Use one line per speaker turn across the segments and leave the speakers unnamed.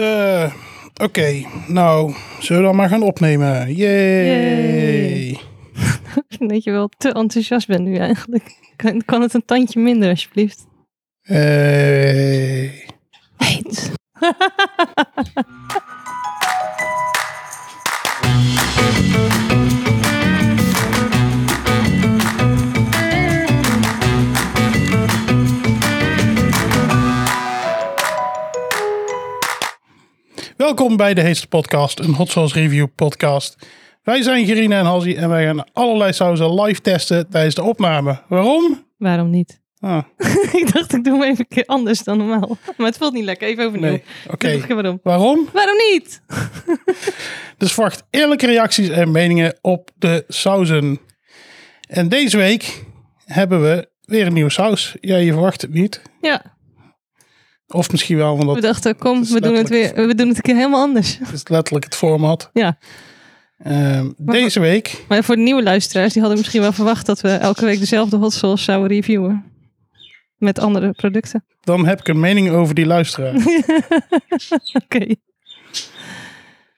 Eh, Oké, nou, zullen we dan maar gaan opnemen? Yay!
Yay. Dat je wel te enthousiast bent nu eigenlijk. Kan, kan het een tandje minder alsjeblieft?
Hey.
Nee.
Welkom bij de Heetste Podcast, een Hot Sauce Review podcast. Wij zijn Gerine en Halsey en wij gaan allerlei sauzen live testen tijdens de opname. Waarom?
Waarom niet?
Ah,
ik dacht ik doe hem even een keer anders dan normaal. Maar het voelt niet lekker. Even overnieuw.
nee, oké.
Ik dacht, waarom?
Waarom?
Waarom niet?
Dus verwacht eerlijke reacties en meningen op de sauzen. En deze week hebben we weer een nieuwe saus. Ja, je verwacht het niet.
Ja,
Of misschien wel, want
we
dat
dachten kom,
dat is
we doen, het
letterlijk-
weer, we doen het een keer helemaal anders.
is Dus letterlijk het format.
Ja,
Ehm, deze week,
maar voor de nieuwe luisteraars, die hadden misschien wel verwacht dat we elke week dezelfde hot sauce zouden reviewen. Met andere producten.
dan heb ik een mening over die luisteraar.
Oké.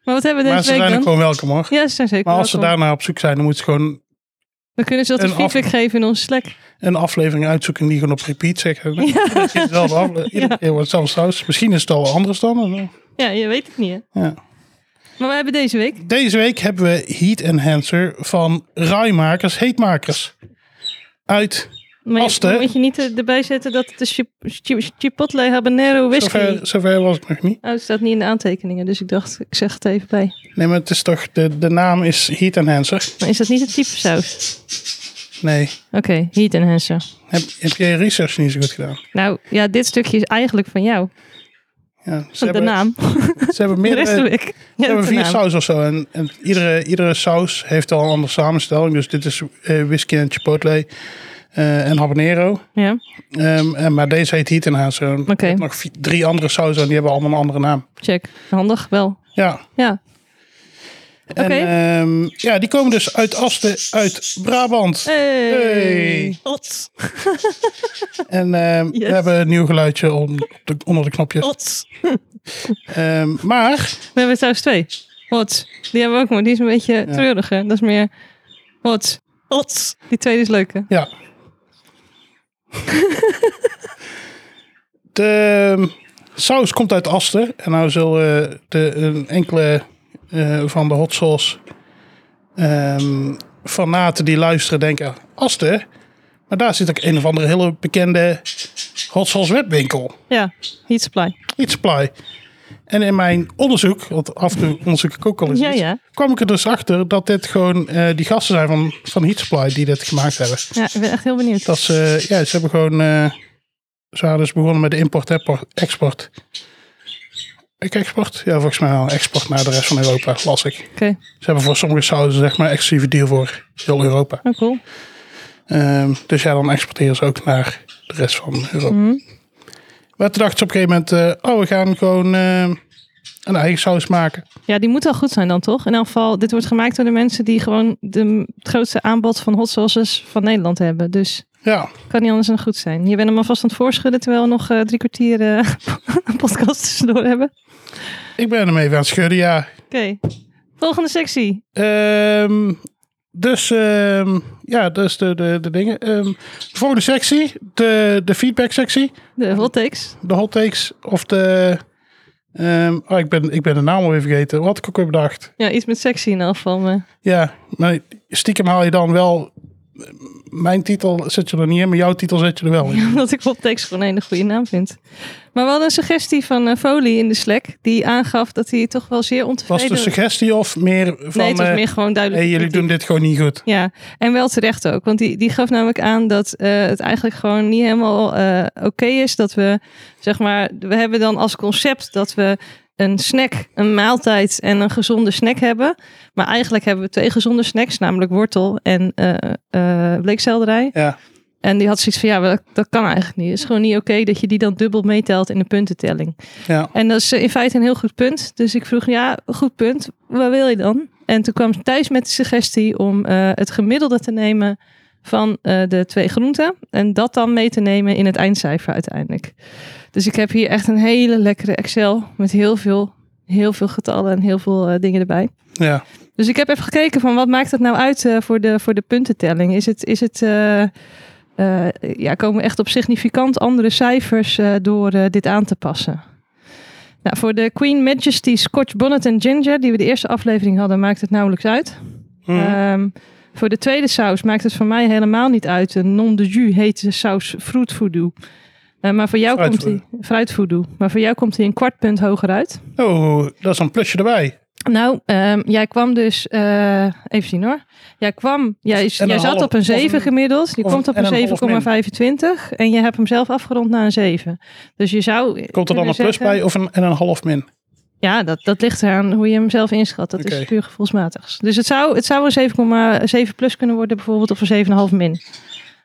Maar wat hebben we
maar ze
deze week
zijn ook
dan?
gewoon welkom hoor.
Ja, ze zijn zeker
maar als ze
welkom.
daarna op zoek zijn, dan moeten ze gewoon
We kunnen ze
Een
altijd
af-
feedback geven in onze Slack.
een aflevering uitzoeken die gewoon op repeat zeggen.
Ja.
Iedere keer dezelfde afle- iedere keer wordt hetzelfde saus. Misschien is het al anders dan. eh,
Ja, je weet het niet, hè?
Ja.
Maar we hebben deze week
Deze week hebben we Heat Enhancer van Rijmakers, Heetmakers. Uit
Maar
Als de-
Moet je niet er- erbij zetten dat het de chip, chip- chipotle habanero whisky...
Zover, zover was ik nog niet.
Oh, het staat niet in de aantekeningen, dus ik dacht, ik zeg het even bij.
Nee, maar het is toch, de, de naam is Heat Enhancer.
Maar is dat niet het type saus?
Nee,
Oké, heat enhancer.
heb, heb jij je research niet zo goed gedaan?
Nou, ja, dit stukje is eigenlijk van jou.
Ja, ze,
Van de
hebben,
naam.
ze hebben
De
meerdere,
rest doe ik.
ze
Ja,
hebben
de
vier
naam.
saus of zo. En, en iedere, iedere saus heeft al een andere samenstelling. Dus dit is eh, whisky en chipotle eh, en habanero.
Ja,
Ehm, en, maar deze heet Heat Enhancer. En
Oké.
je hebt nog vi- drie andere sauzen en die hebben allemaal een andere naam.
check. Handig, wel.
Ja,
Ja.
en,
Oké.
ehm, ja, die komen dus uit Asten, uit Brabant.
Hey.
Hey.
Ots.
En ehm,
Yes.
we hebben een nieuw geluidje on- op de- onder de knopjes.
Ots.
Ehm, maar
We hebben saus 2. Ots. Die hebben we ook, maar die is een beetje treuriger. Dat is meer... Ots. Ots. Die tweede is leuker.
ja. de ehm, saus komt uit Asten. En nou zullen de een enkele eh, van de hot sauce ehm, fanaten die luisteren denken: "Ah, Asten? Maar daar zit ook een of andere hele bekende hot sauce webwinkel.
Ja, heat supply.
Heat Supply. En in mijn onderzoek, want af en toe onderzoek ik ook al eens
Ja,
iets,
ja.
kwam ik er dus achter dat dit gewoon eh, die gasten zijn van, van Heat Supply die dit gemaakt hebben.
Ja, ik ben echt heel benieuwd.
Dat ze, ja, ze hebben gewoon, eh, ze hadden dus begonnen met de import-export. Ik export? Ja, volgens mij wel. Export naar de rest van Europa, las ik.
Oké,
Ze hebben voor sommige sauzen zeg maar exclusieve deal voor heel Europa.
nou cool.
Ehm, dus ja, dan exporteren ze ook naar de rest van Europa.
Mhm.
Maar toen dachten ze op een gegeven moment, eh, oh, we gaan gewoon eh, een eigen saus maken.
Ja, die moet wel goed zijn dan toch? In elk geval, dit wordt gemaakt door de mensen die gewoon de, het grootste aanbod van hot sauces van Nederland hebben. Dus
Ja,
kan niet anders dan goed zijn. Je bent hem alvast aan het voorschudden terwijl we nog eh, drie kwartier eh, een podcast tussendoor hebben.
ik ben hem even aan het schudden, ja.
Oké, volgende sectie.
Ehm, dus ehm, ja, dus de, de, de dingen. Ehm, de volgende sectie, de, de feedback sectie,
De hot takes.
de hot takes of de... ehm, oh, ik ben, ik ben de naam alweer vergeten. Wat had ik ook weer bedacht.
Ja, iets met sexy in elk geval. maar-
Ja, maar stiekem haal je dan wel... Mijn titel zet je er niet in, maar jouw titel zet je er wel in.
Omdat ik hot takes gewoon een hele goede naam vind. Maar we hadden een suggestie van eh Foley in de Slack. Die aangaf dat hij toch wel zeer
Was
ontevreden
de suggestie of meer van...
dus- Nee, het was
eh,
meer gewoon duidelijk.
hey, jullie doen dit gewoon niet goed.
Ja, en wel terecht ook. Want die, die gaf namelijk aan dat eh, het eigenlijk gewoon niet helemaal eh, oké is. Dat we, zeg maar, we hebben dan als concept dat we een snack, een maaltijd en een gezonde snack hebben. Maar eigenlijk hebben we twee gezonde snacks, namelijk wortel en eh eh bleekselderij.
Ja,
En die had zoiets van, ja, maar dat, dat kan eigenlijk niet. Het is gewoon niet oké dat je die dan dubbel meetelt in de puntentelling.
ja.
En dat is eh, in feite een heel goed punt. Dus ik vroeg, ja, goed punt. Wat wil je dan? En toen kwam Thijs met de suggestie om eh, het gemiddelde te nemen van eh, de twee groenten. En dat dan mee te nemen in het eindcijfer uiteindelijk. Dus ik heb hier echt een hele lekkere Excel met heel veel, heel veel getallen en heel veel eh, dingen erbij.
Ja.
Dus ik heb even gekeken van wat maakt dat nou uit eh, voor, de, voor de puntentelling? Is het, is het eh, eh, ja, komen echt op significant andere cijfers eh, door eh, dit aan te passen? Nou, voor de Queen Majesty Scotch Bonnet and Ginger, die we de eerste aflevering hadden, maakt het nauwelijks uit.
Hm.
Ehm, voor de tweede saus maakt het voor mij helemaal niet uit. Een non de jus heet de saus fruit voodoo. Eh, maar voor jou
Fruit
komt hij fruit voodoo. Maar voor jou komt hij een kwart punt hoger uit.
Oh, dat is een plusje erbij.
Nou, ehm, jij kwam dus, eh, even zien hoor. Jij kwam, jij,
Dus En
jij
een
zat
half-
op een
of
7
een-
gemiddeld. Je
of
komt
een-
op een
en een half min.
7,25 en je hebt hem zelf afgerond naar een 7. Dus je zou.
Komt er dan een
kunnen
plus
zeggen-
bij of een, en een half min?
Ja, dat, dat ligt eraan hoe je hem zelf inschat. Dat
Oké.
is puur gevoelsmatig. Dus het zou, het zou een 7,7 plus kunnen worden, bijvoorbeeld, of een 7,5 min.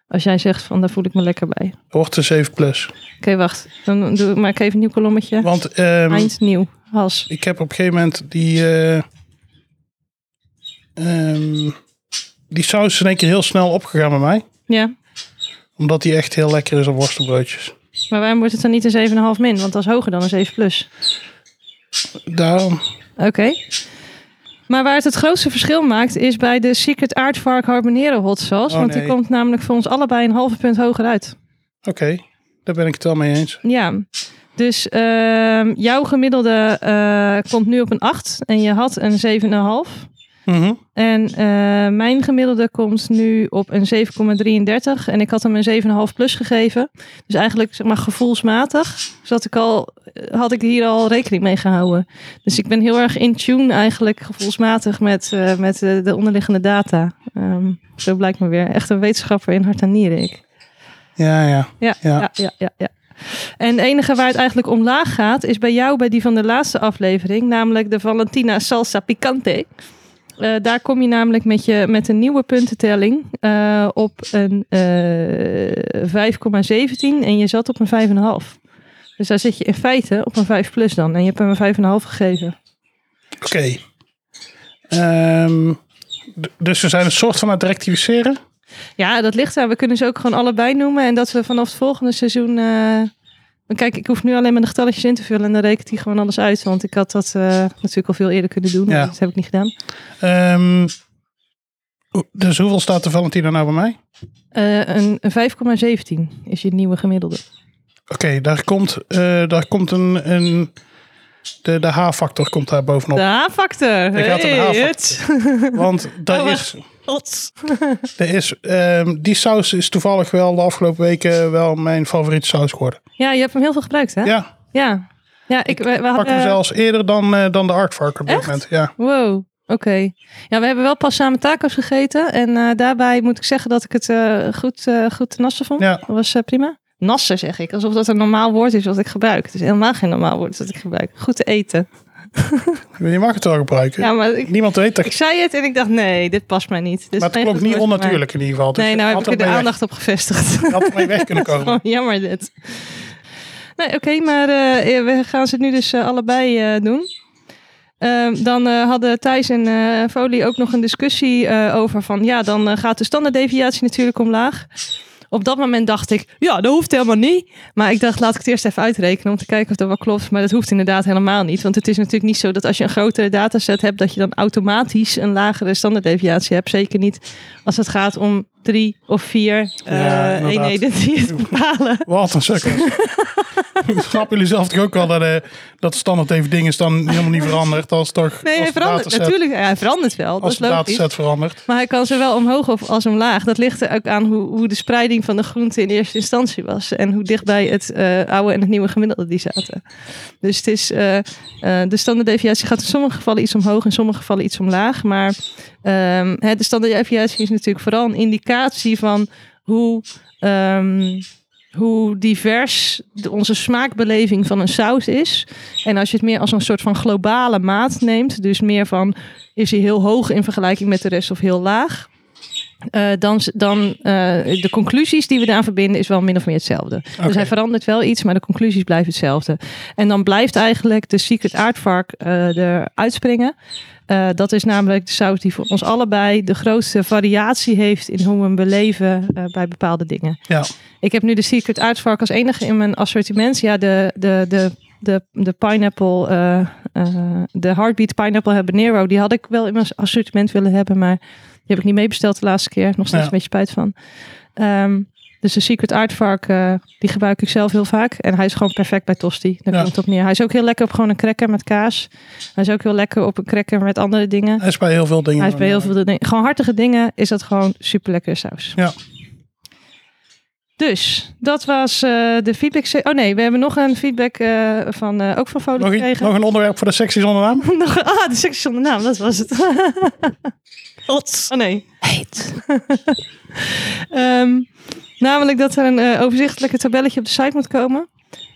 Als jij zegt van daar voel ik me lekker bij. Oké,
Wordt een 7 plus.
wacht. Dan doe ik, maak ik even een nieuw kolommetje.
Want ehm,
Eind nieuw. Has.
ik heb op een gegeven moment die, eh, ehm, die saus is in één keer heel snel opgegaan bij mij.
Ja.
Omdat die echt heel lekker is op worstenbroodjes.
Maar waarom wordt het dan niet een 7,5 min? Want dat is hoger dan een 7 plus.
Daarom,
Oké. Maar waar het het grootste verschil maakt is bij de Secret Aardvark Habanero Hot Sauce.
Oh,
want die
nee.
komt namelijk voor ons allebei een halve punt hoger uit.
oké, daar ben ik het wel mee eens.
Ja. Dus ehm, jouw gemiddelde eh, komt nu op een 8 en je had een 7,5.
Mhm.
En eh, mijn gemiddelde komt nu op een 7,33 en ik had hem een 7,5 plus gegeven. Dus eigenlijk zeg maar gevoelsmatig zat ik al, had ik hier al rekening mee gehouden. Dus ik ben heel erg in tune eigenlijk gevoelsmatig met, eh, met eh, de onderliggende data. Ehm, zo blijkt me weer. Echt een wetenschapper in hart en nieren ik.
Ja, ja.
Ja, ja.
Ja.
ja, ja, ja, En het enige waar het eigenlijk omlaag gaat, is bij jou bij die van de laatste aflevering, namelijk de Valentina Salsa Picante. Eh, daar kom je namelijk met, je, met een nieuwe puntentelling eh, op een eh 5,17 en je zat op een 5,5. Dus daar zit je in feite op een 5 plus dan. En je hebt hem een 5,5 gegeven.
Oké. Ehm, d- dus we zijn een soort van aan het rectificeren.
Ja, dat ligt aan. We kunnen ze ook gewoon allebei noemen. En dat we vanaf het volgende seizoen. eh, Kijk, ik hoef nu alleen maar de getalletjes in te vullen. En dan rekent hij gewoon alles uit. Want ik had dat eh, natuurlijk al veel eerder kunnen doen. maar
Ja.
Dat heb ik niet gedaan.
Ehm, o- dus hoeveel staat de Valentina nou bij mij?
Eh, een een 5,17 is je nieuwe gemiddelde.
Oké, daar komt, eh, daar komt een, een. De, de H-factor komt daar bovenop.
De H-factor.
Er gaat een
Hey,
H-factor. Want dat
Oh, wacht.
is.
het. Ots.
Er is ehm, die saus is toevallig wel de afgelopen weken wel mijn favoriete saus geworden.
Ja, je hebt hem heel veel gebruikt, hè?
Ja,
Ja. Ja, ik, we, we
pak hem
hadden-
zelfs eerder dan, eh, dan de Artvark op dit
Ah, Echt?
moment. Ja.
Wow, oké. Ja, we hebben wel pas samen tacos gegeten. En eh, daarbij moet ik zeggen dat ik het eh, goed, eh, goed te nassen vond.
Ja.
Dat was eh, prima. Nassen zeg ik, alsof dat een normaal woord is wat ik gebruik. Het is helemaal geen normaal woord dat ik gebruik. Goed te eten.
Je mag het wel gebruiken.
Ja, maar ik,
Niemand weet dat.
ik zei het en ik dacht, nee, dit past mij niet. Dit is
maar het
geen
klonk
goed
niet
woord voor mij.
onnatuurlijk in ieder geval. Dus
Nee,
je
nou heb
had
ik er de
ermee weg-
aandacht op gevestigd.
je had ermee weg kunnen komen.
Gewoon jammer dit. Nee, oké, maar eh, we gaan ze nu dus eh, allebei eh, doen. Ehm, dan eh, hadden Thijs en eh Folie ook nog een discussie eh, over van... ja, dan eh, gaat de standaarddeviatie natuurlijk omlaag. Op dat moment dacht ik, ja, dat hoeft helemaal niet. Maar ik dacht, laat ik het eerst even uitrekenen om te kijken of dat wel klopt. Maar dat hoeft inderdaad helemaal niet. Want het is natuurlijk niet zo dat als je een grotere dataset hebt... dat je dan automatisch een lagere standaarddeviatie hebt. Zeker niet als het gaat om drie of vier eh,
Ja, inderdaad.
eenheden die het bepalen.
Wat een sukkers. Snappen jullie zelf toch ook wel dat, eh, dat standaard even ding is dan helemaal niet veranderd. Als toch
Nee,
als
hij
de
verandert
dataset-
natuurlijk. ja, hij verandert wel. Dat
Als
is
de
logisch.
dataset verandert.
Maar hij kan zowel omhoog of als omlaag. Dat ligt er ook aan hoe, hoe de spreiding van de groente in eerste instantie was. En hoe dichtbij het eh, oude en het nieuwe gemiddelde die zaten. Dus het is, eh, eh, de standaarddeviatie gaat in sommige gevallen iets omhoog, in sommige gevallen iets omlaag. Maar ehm, hè, de standaarddeviatie is natuurlijk vooral een indicatie van hoe, ehm, hoe divers de, onze smaakbeleving van een saus is. En als je het meer als een soort van globale maat neemt, dus meer van is hij heel hoog in vergelijking met de rest of heel laag. eh, dan dan eh, de conclusies die we daaraan verbinden is wel min of meer hetzelfde. Dus hij verandert wel iets, maar de conclusies blijven hetzelfde. En dan blijft eigenlijk de secret aardvark eh eruit springen. Eh, dat is namelijk de saus die voor ons allebei de grootste variatie heeft in hoe we hem beleven eh, bij bepaalde dingen.
Ja,
Ik heb nu de Secret Aardvark als enige in mijn assortiment. Ja, de, de, de, de, de pineapple, eh, eh, de Heartbeat Pineapple Habanero, die had ik wel in mijn assortiment willen hebben, maar die heb ik niet meebesteld de laatste keer. Nog steeds
Ja.
een beetje spijt van. Ehm, dus de Secret Aardvark, eh, die gebruik ik zelf heel vaak. En hij is gewoon perfect bij tosti. Daar
Ja.
komt het op neer. Hij is ook heel lekker op gewoon een cracker met kaas. Hij is ook heel lekker op een cracker met andere dingen.
hij is bij heel veel dingen.
Hij is bij heel veel dingen. Gewoon hartige dingen is dat gewoon super lekkere saus.
Ja.
Dus dat was eh, de feedback. se- Oh nee, we hebben nog een feedback eh, van eh, ook van Folie
Nog, iets-
gekregen.
nog een onderwerp voor de sectie zonder naam?
Nog- ah, de sectie zonder naam, dat was het. Oh nee. Heet. Ehm, namelijk dat er een eh, overzichtelijke tabelletje op de site moet komen.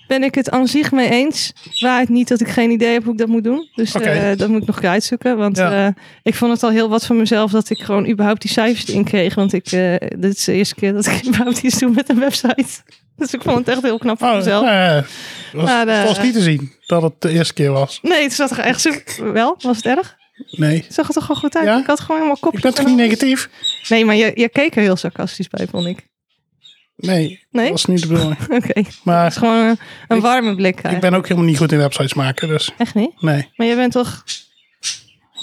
Ben ik het aan zich mee eens. Waar het niet dat ik geen idee heb hoe ik dat moet doen. Dus eh,
Oké.
dat moet ik nog een keer uitzoeken. Want
Ja.
eh, ik vond het al heel wat van mezelf dat ik gewoon überhaupt die cijfers in kreeg. Want ik, eh, dit is de eerste keer dat ik überhaupt iets doe met een website. Dus ik vond het echt heel knap van
Oh,
mezelf.
nou ja, het was,
Maar, eh,
het was niet te zien dat het de eerste keer was.
Nee, het zag er echt super... Wel, was het erg?
Nee.
Het zag er toch wel goed uit?
Ja?
Ik had gewoon helemaal
Ik
kopjes.
ben toch
en
niet
alles.
negatief?
Nee, maar je, je keek er heel sarcastisch bij, vond ik.
Nee,
Nee?
dat was niet de bedoeling.
Oké. Het is
Maar
gewoon een, een
Ik-
warme blik.
ik
eigenlijk.
ben ook helemaal niet goed in websites maken, dus
Echt niet?
nee.
Maar jij bent toch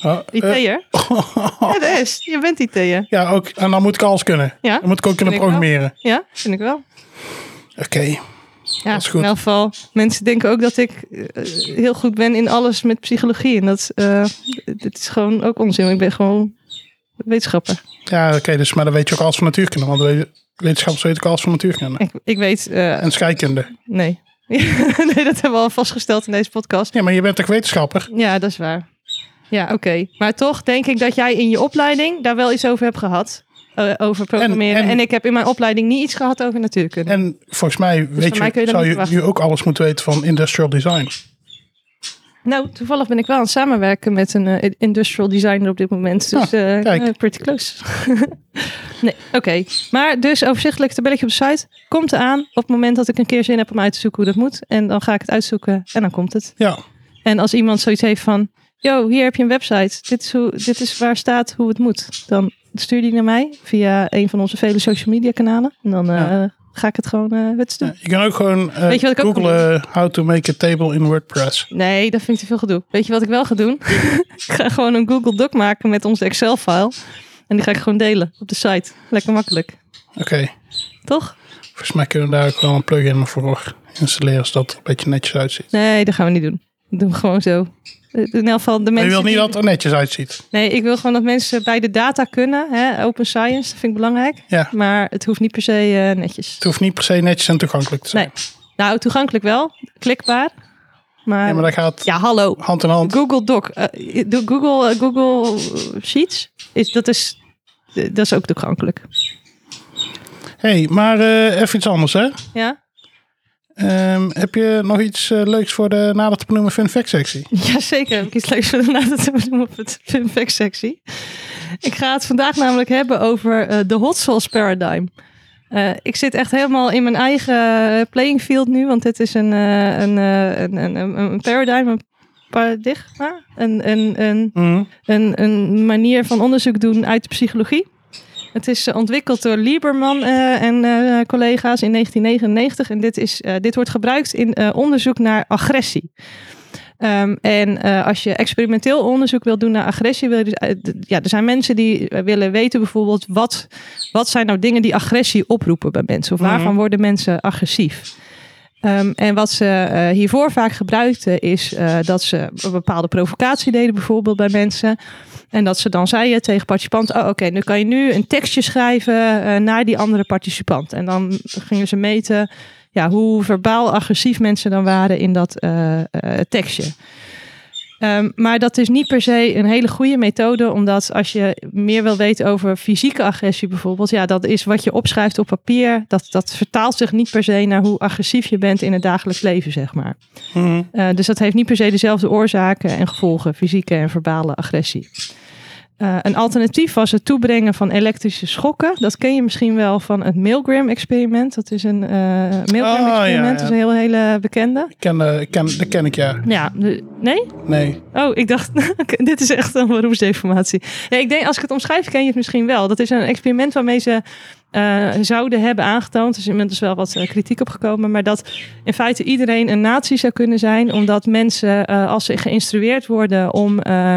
Oh, eh,
IT'er? Ja, dat is. Je bent IT'er.
ja, ook. En dan moet ik alles kunnen.
Ja?
Dan moet ik ook kunnen
Vind ik wel.
programmeren.
Ja, vind ik wel.
Oké.
Ja,
Dat is goed.
in elk geval. Mensen denken ook dat ik eh, heel goed ben in alles met psychologie. En dat eh, dit is gewoon ook onzin. Ik ben gewoon wetenschapper.
Ja, oké, dus, maar dan weet je ook alles van natuurkunde. Want we- wetenschappers weten ook alles van natuurkunde.
Ik, ik weet... eh,
En scheikunde.
nee. nee, dat hebben we al vastgesteld in deze podcast.
Ja, maar je bent toch wetenschapper?
Ja, dat is waar. Ja, oké. Maar toch denk ik dat jij in je opleiding daar wel iets over hebt gehad. eh, over programmeren. En,
en-
ik heb in mijn opleiding niet iets gehad over natuurkunde.
En volgens mij, weet
Dus van mij kun
je,
je dat
zou
niet
je nu
verwachten.
ook alles moeten weten van industrial design.
nou, toevallig ben ik wel aan het samenwerken met een eh, industrial designer op dit moment. Dus
Ah,
eh,
kijk.
eh, pretty close. nee, oké. Maar dus overzichtelijk tabelletje op de site. Komt eraan op het moment dat ik een keer zin heb om uit te zoeken hoe dat moet. En dan ga ik het uitzoeken en dan komt het.
Ja,
En als iemand zoiets heeft van... Yo, hier heb je een website. Dit is, hoe, dit is waar staat hoe het moet. Dan stuur die naar mij via een van onze vele social media kanalen. En dan eh,
Ja.
ga ik het gewoon eh wets doen.
je kan ook gewoon eh,
Weet je wat ik ook
googlen eh, how to make a table in WordPress.
Nee, dat vind ik te veel gedoe. Weet je wat ik wel ga doen? ik ga gewoon een Google Doc maken met onze Excel-file. En die ga ik gewoon delen op de site. Lekker makkelijk.
Oké,
Toch?
volgens mij kunnen we daar ook wel een plugin voor installeren, zodat het een beetje netjes uitziet.
Nee, dat gaan we niet doen. Dat doen we gewoon zo. Eh, In elk geval de
Maar
mensen
je wilt niet
die-
dat het er netjes uitziet.
Nee, ik wil gewoon dat mensen bij de data kunnen. Hè? Open science, dat vind ik belangrijk.
Ja.
Maar het hoeft niet per se eh, netjes.
Het hoeft niet per se netjes en toegankelijk te zijn.
Nee. Nou, toegankelijk wel. Klikbaar. Maar
Ja,
ja,
maar dat gaat
hallo.
hand in hand.
Google Doc. eh, doe Google, eh, Google Sheets. Is, dat, is, eh, dat is ook toegankelijk.
hey, maar eh, even iets anders hè.
Ja?
Ehm, heb je nog iets eh, leuks voor de nader te benoemen fun fact sectie?
Jazeker, heb ik iets leuks voor daarna te doen op het fun fact sectie. Ik ga het vandaag namelijk hebben over eh, de hot sauce paradigm. Eh, ik zit echt helemaal in mijn eigen eh, playing field nu, want dit is een, eh, een, eh, een, een, een, een paradigm, een paradigma, een, een, een, een, een manier van onderzoek doen uit de psychologie. Het is eh, ontwikkeld door Lieberman eh, en eh, collega's in 1999 en dit, is, eh, dit wordt gebruikt in eh, onderzoek naar agressie. Ehm, en eh, als je experimenteel onderzoek wilt doen naar agressie, wil je dus, eh, d- ja, er zijn mensen die eh, willen weten bijvoorbeeld wat, wat zijn nou dingen die agressie oproepen bij mensen of
Mhm.
waarvan worden mensen agressief. Ehm, en wat ze eh, hiervoor vaak gebruikten is eh, dat ze een bepaalde provocatie deden bijvoorbeeld bij mensen. En dat ze dan zeiden tegen participanten, oh oké, nu kan je nu een tekstje schrijven eh, naar die andere participant. En dan gingen ze meten ja, hoe verbaal agressief mensen dan waren in dat eh, eh, tekstje. Ehm, maar dat is niet per se een hele goede methode, omdat als je meer wil weten over fysieke agressie bijvoorbeeld, ja, dat is wat je opschrijft op papier. Dat, dat vertaalt zich niet per se naar hoe agressief je bent in het dagelijks leven, zeg maar.
Mhm.
Eh, dus dat heeft niet per se dezelfde oorzaken en gevolgen, fysieke en verbale agressie. Eh, een alternatief was het toebrengen van elektrische schokken. Dat ken je misschien wel van het Milgram-experiment. Dat is een eh Milgram-experiment,
Ah, ja, ja.
dat is een heel hele bekende.
Ik ken, eh, ik ken, dat ken ik ja.
Ja, de- nee?
Nee.
Oh, ik dacht, oké, dit is echt een beroepsdeformatie. Nee, ik denk, als ik het omschrijf, ken je het misschien wel. Dat is een experiment waarmee ze eh, zouden hebben aangetoond. Er is inmiddels wel wat eh, kritiek op gekomen. Maar dat in feite iedereen een natie zou kunnen zijn. Omdat mensen, eh, als ze geïnstrueerd worden om eh,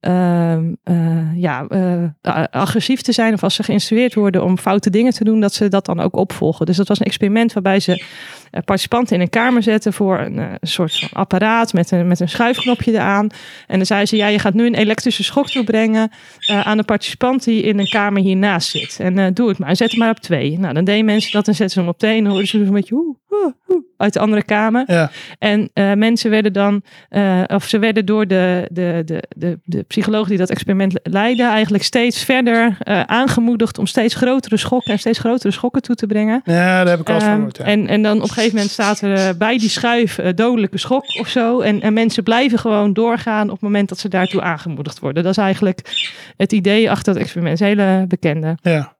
ehm, eh, ja, eh, a- agressief te zijn. Of als ze geïnstrueerd worden om foute dingen te doen. Dat ze dat dan ook opvolgen. Dus dat was een experiment waarbij ze eh, participanten in een kamer zetten voor een eh, soort van apparaat met een, met een schuifknopje eraan. En dan zei ze, ja, je gaat nu een elektrische schok toebrengen eh, aan een participant die in een kamer hiernaast zit. En eh, doe het maar, zet hem maar op twee. Nou, dan deden mensen dat en zetten ze hem op twee en dan hoorden ze een beetje hoe, hoe, hoe, uit de andere kamer.
Ja.
En eh, mensen werden dan, eh, of ze werden door de, de, de, de, de psycholoog die dat experiment le- leidde, eigenlijk steeds verder eh, aangemoedigd om steeds grotere schokken en steeds grotere schokken toe te brengen.
ja, daar heb ik wel eens van
Ehm,
gehoord. Ja.
en, en dan op een gegeven moment staat er eh, bij die schuif eh, dodelijke schok of zo. En, en mensen blijven gewoon doorgaan op het moment dat ze daartoe aangemoedigd worden. Dat is eigenlijk het idee achter dat experiment. Dat is een hele bekende.
ja.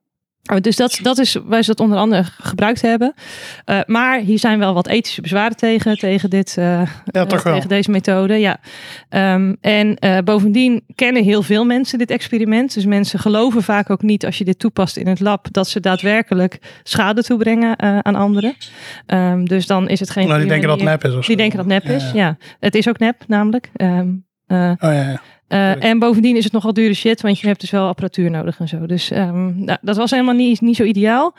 Oh, dus dat, dat is waar ze dat onder andere gebruikt hebben. Eh, maar hier zijn wel wat ethische bezwaren tegen, tegen dit eh,
ja, toch
eh,
wel.
Tegen deze methode, ja. Ehm, en eh, bovendien kennen heel veel mensen dit experiment. Dus mensen geloven vaak ook niet als je dit toepast in het lab... dat ze daadwerkelijk schade toebrengen eh, aan anderen. Ehm, dus dan is het geen...
Nou, die
goede
denken dat het
manier-
nep is. Of zo.
Die denken dat nep is,
Ja.
ja. Het is ook nep, namelijk. Ehm, eh,
Oh ja, ja.
eh, en bovendien is het nogal dure shit, want je hebt dus wel apparatuur nodig en zo. Dus ehm, nou, dat was helemaal niet, niet zo ideaal.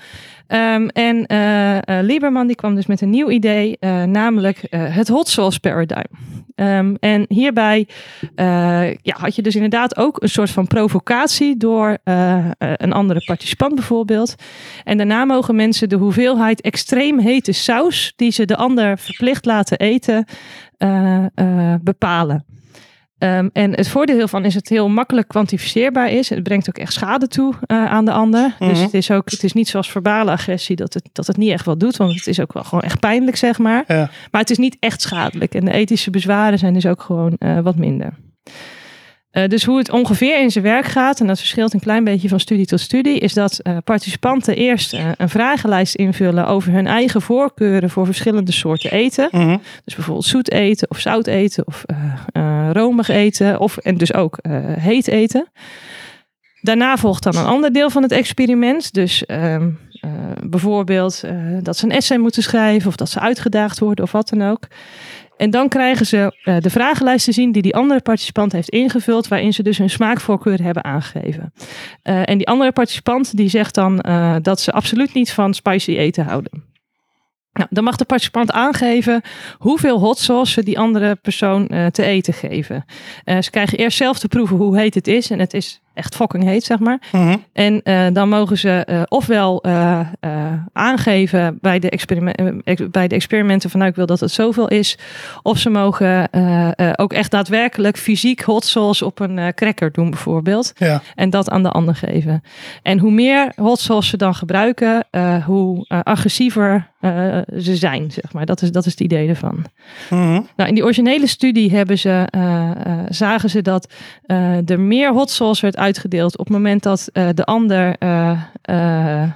Ehm, en eh, eh, Lieberman die kwam dus met een nieuw idee, eh, namelijk eh, het hot sauce paradigm. Ehm, en hierbij eh, ja, had je dus inderdaad ook een soort van provocatie door eh, eh, een andere participant bijvoorbeeld. En daarna mogen mensen de hoeveelheid extreem hete saus die ze de ander verplicht laten eten eh, eh, bepalen. Ehm, en het voordeel hiervan is dat het heel makkelijk kwantificeerbaar is. Het brengt ook echt schade toe eh, aan de ander. Dus
Mhm.
het is, ook, het is niet zoals verbale agressie dat het, dat het niet echt wat doet. Want het is ook wel gewoon echt pijnlijk, zeg maar.
Ja.
Maar het is niet echt schadelijk. En de ethische bezwaren zijn dus ook gewoon eh, wat minder. Eh, dus hoe het ongeveer in zijn werk gaat, en dat verschilt een klein beetje van studie tot studie, is dat eh, participanten eerst eh, een vragenlijst invullen over hun eigen voorkeuren voor verschillende soorten eten.
Mhm.
Dus bijvoorbeeld zoet eten of zout eten of eh, eh, romig eten of en dus ook eh, heet eten. Daarna volgt dan een ander deel van het experiment. Dus ehm, eh, bijvoorbeeld eh, dat ze een essay moeten schrijven of dat ze uitgedaagd worden of wat dan ook. En dan krijgen ze eh, de vragenlijst te zien die die andere participant heeft ingevuld, waarin ze dus hun smaakvoorkeur hebben aangegeven. Eh, en die andere participant die zegt dan eh, dat ze absoluut niet van spicy eten houden. Nou, dan mag de participant aangeven hoeveel hot sauce ze die andere persoon eh, te eten geven. Eh, ze krijgen eerst zelf te proeven hoe heet het is. En het is echt fucking heet, zeg maar.
Mhm.
En eh, dan mogen ze eh, ofwel eh, eh, aangeven bij de, experime- eh, ex- bij de experimenten van nou ik wil dat het zoveel is. Of ze mogen eh, eh, ook echt daadwerkelijk fysiek hot sauce op een eh, cracker doen bijvoorbeeld.
Ja.
En dat aan de ander geven. En hoe meer hot sauce ze dan gebruiken, eh, hoe eh, agressiever eh, ze zijn zeg maar. Dat is, dat is het idee ervan.
Mhm.
Nou, in die originele studie hebben ze, eh, eh, zagen ze dat eh, er meer hot sauce werd uitgedeeld op het moment dat eh, de ander eh, eh, eh,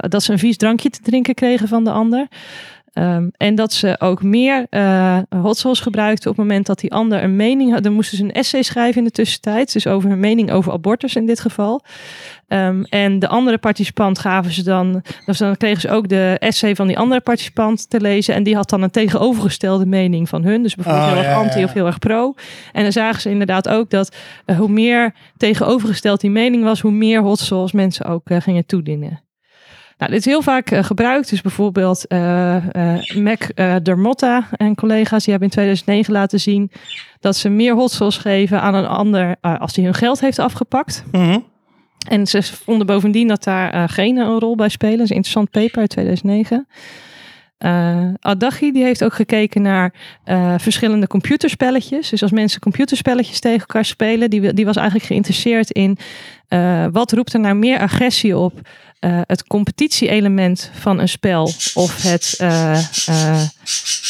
dat ze een vies drankje te drinken kregen van de ander. Ehm, en dat ze ook meer eh hot sauce gebruikten op het moment dat die ander een mening had. Dan moesten ze een essay schrijven in de tussentijd. Dus over hun mening over abortus in dit geval. Ehm, en de andere participant gaven ze dan. Dus dan kregen ze ook de essay van die andere participant te lezen. En die had dan een tegenovergestelde mening van hun. Dus bijvoorbeeld
Oh,
heel erg
ja, ja,
anti
ja.
of heel erg pro. En dan zagen ze inderdaad ook dat eh, hoe meer tegenovergesteld die mening was, hoe meer hot sauce mensen ook eh, gingen toedienen. Nou, dit is heel vaak eh, gebruikt. Dus bijvoorbeeld eh, eh, Mac eh, Dermotta en collega's die hebben in 2009 laten zien dat ze meer hot sauce geven aan een ander eh, als die hun geld heeft afgepakt.
Mhm.
En ze vonden bovendien dat daar eh, genen een rol bij spelen. Dat is een interessant paper uit 2009. Eh Adachi die heeft ook gekeken naar eh, verschillende computerspelletjes. Dus als mensen computerspelletjes tegen elkaar spelen, die, wil- die was eigenlijk geïnteresseerd in eh, wat roept er nou meer agressie op? Eh, het competitieelement van een spel of het eh, eh,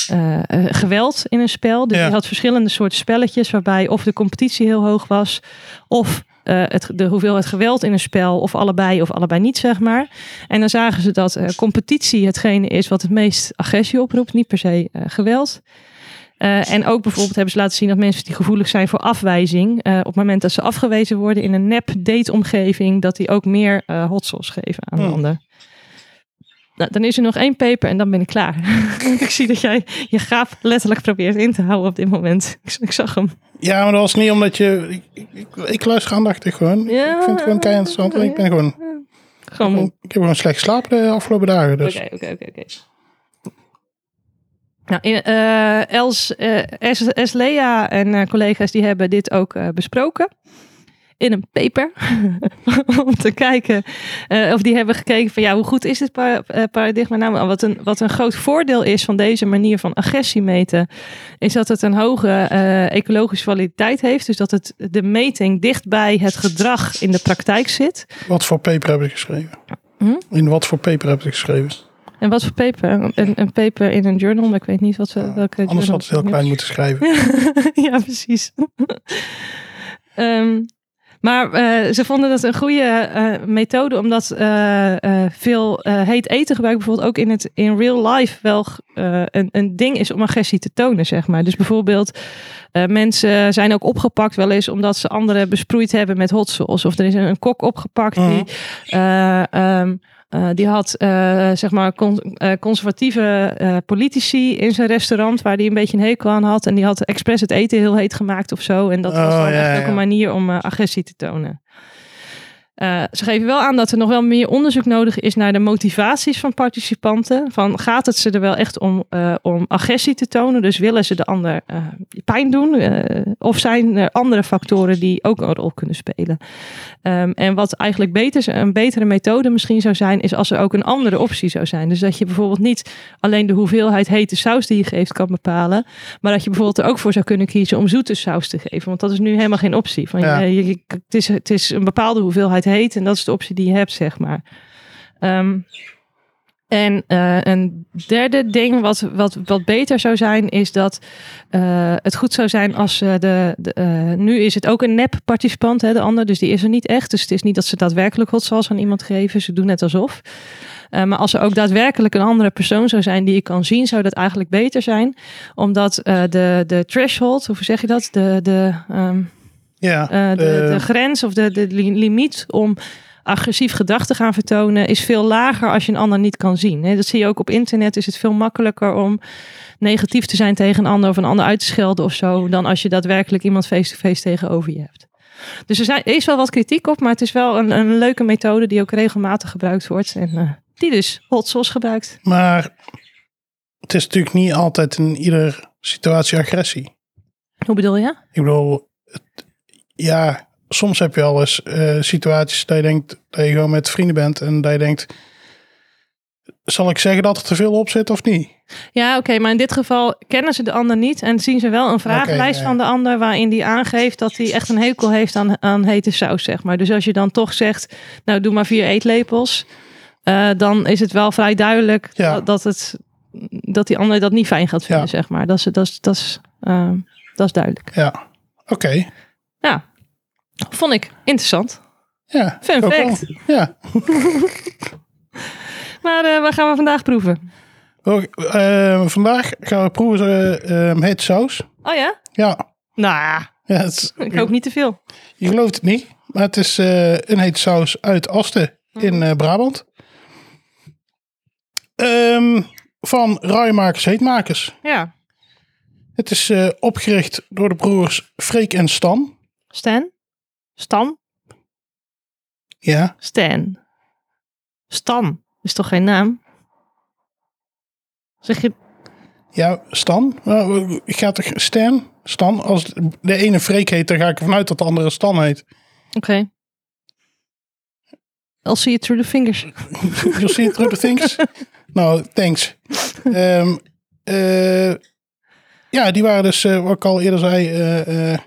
eh, eh, geweld in een spel. Dus
Ja.
je had verschillende soorten spelletjes waarbij of de competitie heel hoog was of eh, eh, het, de hoeveelheid geweld in een spel, of allebei of allebei niet, zeg maar. En dan zagen ze dat eh, competitie hetgene is wat het meest agressie oproept, niet per se eh, geweld. Eh, en ook bijvoorbeeld hebben ze laten zien dat mensen die gevoelig zijn voor afwijzing, eh, op het moment dat ze afgewezen worden in een nep date-omgeving, dat die ook meer eh hot sauce geven aan de
Hmm.
ander. Nou, dan is er nog één paper en dan ben ik klaar. ik zie dat jij je gaaf letterlijk probeert in te houden op dit moment. Ik, ik zag hem.
Ja, maar dat was niet omdat je... Ik, ik, ik luister aandachtig gewoon.
Ja.
Ik vind het gewoon keihard interessant. en Ik ben gewoon...
Gewoon moe.
Ik heb gewoon slecht geslapen de afgelopen dagen. Dus.
Oké, oké, oké, oké. Nou, in, eh, Els, eh, S, S. Lea en eh, collega's die hebben dit ook eh, besproken. In een paper. Om te kijken. eh, of die hebben gekeken van ja, hoe goed is dit pa- eh, paradigma nou? Wat een, wat een groot voordeel is van deze manier van agressie meten. Is dat het een hoge eh, ecologische validiteit heeft. Dus dat het, de meting dicht bij het gedrag in de praktijk zit.
Wat voor paper heb ik geschreven?
Hm?
In wat voor paper heb ik geschreven?
En wat voor paper? Een- Een, een paper in een journal, maar ik weet niet wat, we- welke
Anders
journal
had het heel klein moeten schrijven.
ja, precies. Ehm, maar eh, ze vonden dat een goede eh, methode, omdat eh, eh, veel eh, heet eten gebruik bijvoorbeeld ook in, het, in real life wel eh, een, een ding is om agressie te tonen, zeg maar. Dus bijvoorbeeld eh, mensen zijn ook opgepakt wel eens omdat ze anderen besproeid hebben met hot sauce. Of er is een, een kok opgepakt die...
Mhm.
eh, ehm, eh, die had eh, zeg maar con- eh, conservatieve eh, politici in zijn restaurant waar hij een beetje een hekel aan had. En die had expres het eten heel heet gemaakt of zo. En dat was
Oh,
dan
ja,
echt ook
ja.
een manier om eh, agressie te tonen. Eh, ze geven wel aan dat er nog wel meer onderzoek nodig is naar de motivaties van participanten. Van gaat het ze er wel echt om, eh, om agressie te tonen? Dus willen ze de ander eh, pijn doen? Eh, of zijn er andere factoren die ook een rol kunnen spelen? Ehm, en wat eigenlijk beter, een betere methode misschien zou zijn, is als er ook een andere optie zou zijn. Dus dat je bijvoorbeeld niet alleen de hoeveelheid hete saus die je geeft kan bepalen, maar dat je bijvoorbeeld er ook voor zou kunnen kiezen om zoete saus te geven. Want dat is nu helemaal geen optie. Van, eh,
Ja.
je, je- je- het, is, het is een bepaalde hoeveelheid heet en dat is de optie die je hebt, zeg maar. Ehm, en eh, een derde ding wat, wat, wat beter zou zijn, is dat eh, het goed zou zijn als eh, de, de, eh, nu is het ook een nep participant, hè, de ander, dus die is er niet echt. Dus het is niet dat ze daadwerkelijk hot sauce aan iemand geven, ze doen net alsof. Eh, maar als er ook daadwerkelijk een andere persoon zou zijn die je kan zien, zou dat eigenlijk beter zijn. Omdat eh, de, de threshold, hoe zeg je dat? De, de, ehm,
Ja,
eh, de,
eh,
de grens of de, de li- limiet om agressief gedrag te gaan vertonen is veel lager als je een ander niet kan zien. hè. Dat zie je ook op internet. Is het veel makkelijker om negatief te zijn tegen een ander of een ander uit te schelden of zo, dan als je daadwerkelijk iemand face-to-face tegenover je hebt. Dus er zijn, er is wel wat kritiek op, maar het is wel een, een leuke methode die ook regelmatig gebruikt wordt. En eh, die dus hot sauce gebruikt.
maar het is natuurlijk niet altijd in ieder situatie agressie.
Hoe bedoel je?
Ik bedoel, het- ja, soms heb je al eens eh, situaties dat je denkt dat je gewoon met vrienden bent en dat je denkt, zal ik zeggen dat er te veel op zit of niet?
Ja, oké, maar in dit geval kennen ze de ander niet en zien ze wel een vragenlijst
ja, ja.
van de ander waarin die aangeeft dat hij echt een hekel heeft aan, aan hete saus, zeg maar. Dus als je dan toch zegt, nou doe maar vier eetlepels, eh, dan is het wel vrij duidelijk
Ja.
dat, dat, het, dat die ander dat niet fijn gaat vinden,
Ja.
zeg maar. Dat is, dat is, dat is, ehm, dat is duidelijk.
Ja, oké.
Ja, vond ik interessant.
Ja,
Fun
ook wel.
fact.
Ja.
Maar eh wat gaan we vandaag proeven?
Oh, eh, vandaag gaan we proeven eh eh, heet saus.
Oh ja?
Ja,
Nou,
ja het is-
ik hoop niet te veel.
je gelooft het niet, maar het is eh, een heet saus uit Asten in eh, Brabant. Ehm, van ruimakers, heetmakers.
Ja.
Het is eh, opgericht door de broers Freek en Stan.
Stan? Stan?
Ja,
Stan. Stan is toch geen naam? Zeg je.
ja Stan. Nou, ik ga toch Stan? Stan, als de ene Freek heet, dan ga ik ervan uit dat de andere Stan heet.
Oké. I'll see you through the fingers.
You'll see it through the things. Nou, thanks. Ehm, eh, ja, die waren dus, eh, wat ik al eerder zei, eh, eh,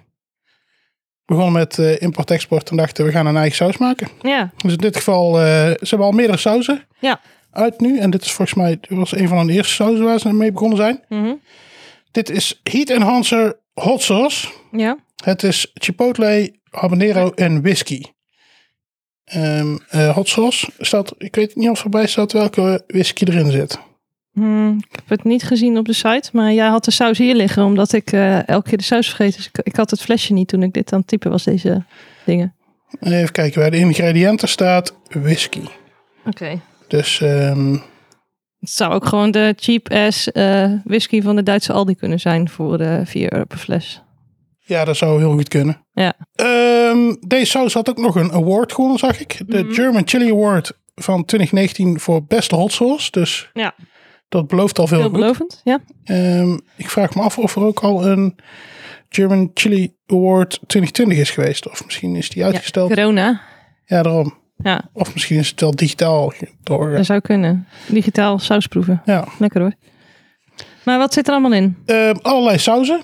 begonnen met eh, import-export en dachten we gaan een eigen saus maken.
Ja.
Dus in dit geval, eh, ze hebben al meerdere sauzen
Ja.
uit nu. En dit is volgens mij dit was een van de eerste sauzen waar ze mee begonnen zijn.
Mhm.
Dit is Heat Enhancer Hot Sauce.
Ja.
Het is chipotle, habanero en whisky. Ehm eh, hot sauce staat, ik weet niet of erbij staat welke whisky erin zit.
Hmm, ik heb het niet gezien op de site, maar jij had de saus hier liggen omdat ik eh, elke keer de saus vergeet. Dus ik, ik had het flesje niet toen ik dit aan het typen was, deze dingen.
Even kijken, bij de ingrediënten staat whisky.
Oké.
Dus ehm,
Het zou ook gewoon de cheap ass eh, whisky van de Duitse Aldi kunnen zijn voor de 4 euro per fles.
ja, dat zou heel goed kunnen.
Ja.
Ehm, deze saus had ook nog een award gewonnen, zag ik. De German Chili Award van 2019 voor beste hot sauce. Dus
Ja,
dat belooft al veel goed.
veelbelovend. Ja.
Ehm, ik vraag me af of er ook al een German Chili Award 2020 is geweest. Of misschien is die
ja,
uitgesteld. Ja,
corona.
daarom.
Ja,
Of misschien is het wel digitaal door.
dat zou kunnen. Digitaal saus proeven.
Ja.
Lekker hoor. Maar wat zit er allemaal in?
Ehm, allerlei sauzen.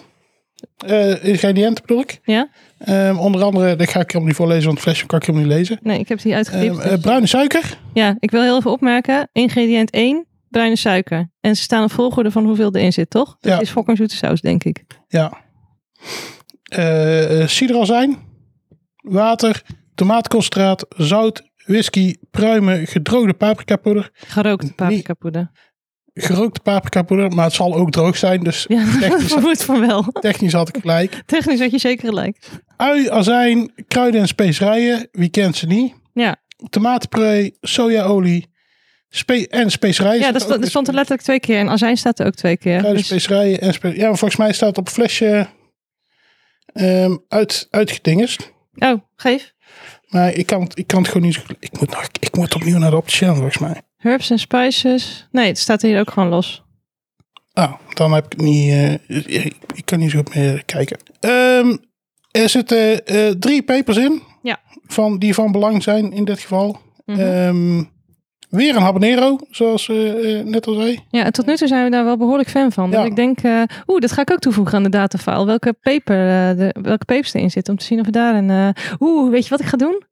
Eh, ingrediënten bedoel ik.
Ja?
Ehm, onder andere, dat ga ik helemaal niet voorlezen, want het flesje kan ik helemaal niet lezen.
Nee, ik heb het hier
Ehm,
uitgediept.
eh, bruine suiker.
Ja, ik wil heel even opmerken. Ingrediënt 1, bruine suiker. En ze staan op volgorde van hoeveel erin zit, toch? Dat
Ja.
is fucking zoete saus, denk ik.
Ja. Eh eh, Ciderazijn. Water. Tomaatconcentraat. Zout. Whisky. Pruimen. Gedroogde paprikapoeder.
Gerookte paprikapoeder.
Gerookte paprikapoeder, maar het zal ook droog zijn. Dus
Ja, dat
technisch,
vermoed van wel.
technisch had ik gelijk.
Technisch had je zeker gelijk.
Ui, azijn, kruiden en specerijen. Wie kent ze niet?
Ja,
Tomatenpuree, sojaolie spe- en specerijen.
ja
Zit er
dat, stond,
ook
dat
in.
stond er letterlijk twee keer. En azijn staat er ook twee keer.
Kruiden,
Dus-
specerijen en spe- Ja, maar volgens mij staat het op een flesje ehm uit, uitgedingest.
oh, geef.
Maar ik kan, het- ik kan het gewoon niet zo goed- Ik moet, nog, ik moet opnieuw naar de opticien volgens mij.
Herbs en spices. Nee, het staat hier ook gewoon los.
Ah, dan heb ik het niet. eh, ik, ik kan niet zo goed meer kijken. Ehm, er zitten eh, drie papers in.
Ja.
Van, die van belang zijn in dit geval.
Mhm.
Ehm, weer een habanero, zoals eh, eh, net al zei.
Ja, en tot nu toe zijn we daar wel behoorlijk fan van. Dus
Ja.
ik denk, eh, oeh, dat ga ik ook toevoegen aan de datafile. Welke, paper, eh, de, welke papers erin zitten. Om te zien of we daar een... eh, oeh, weet je wat ik ga doen?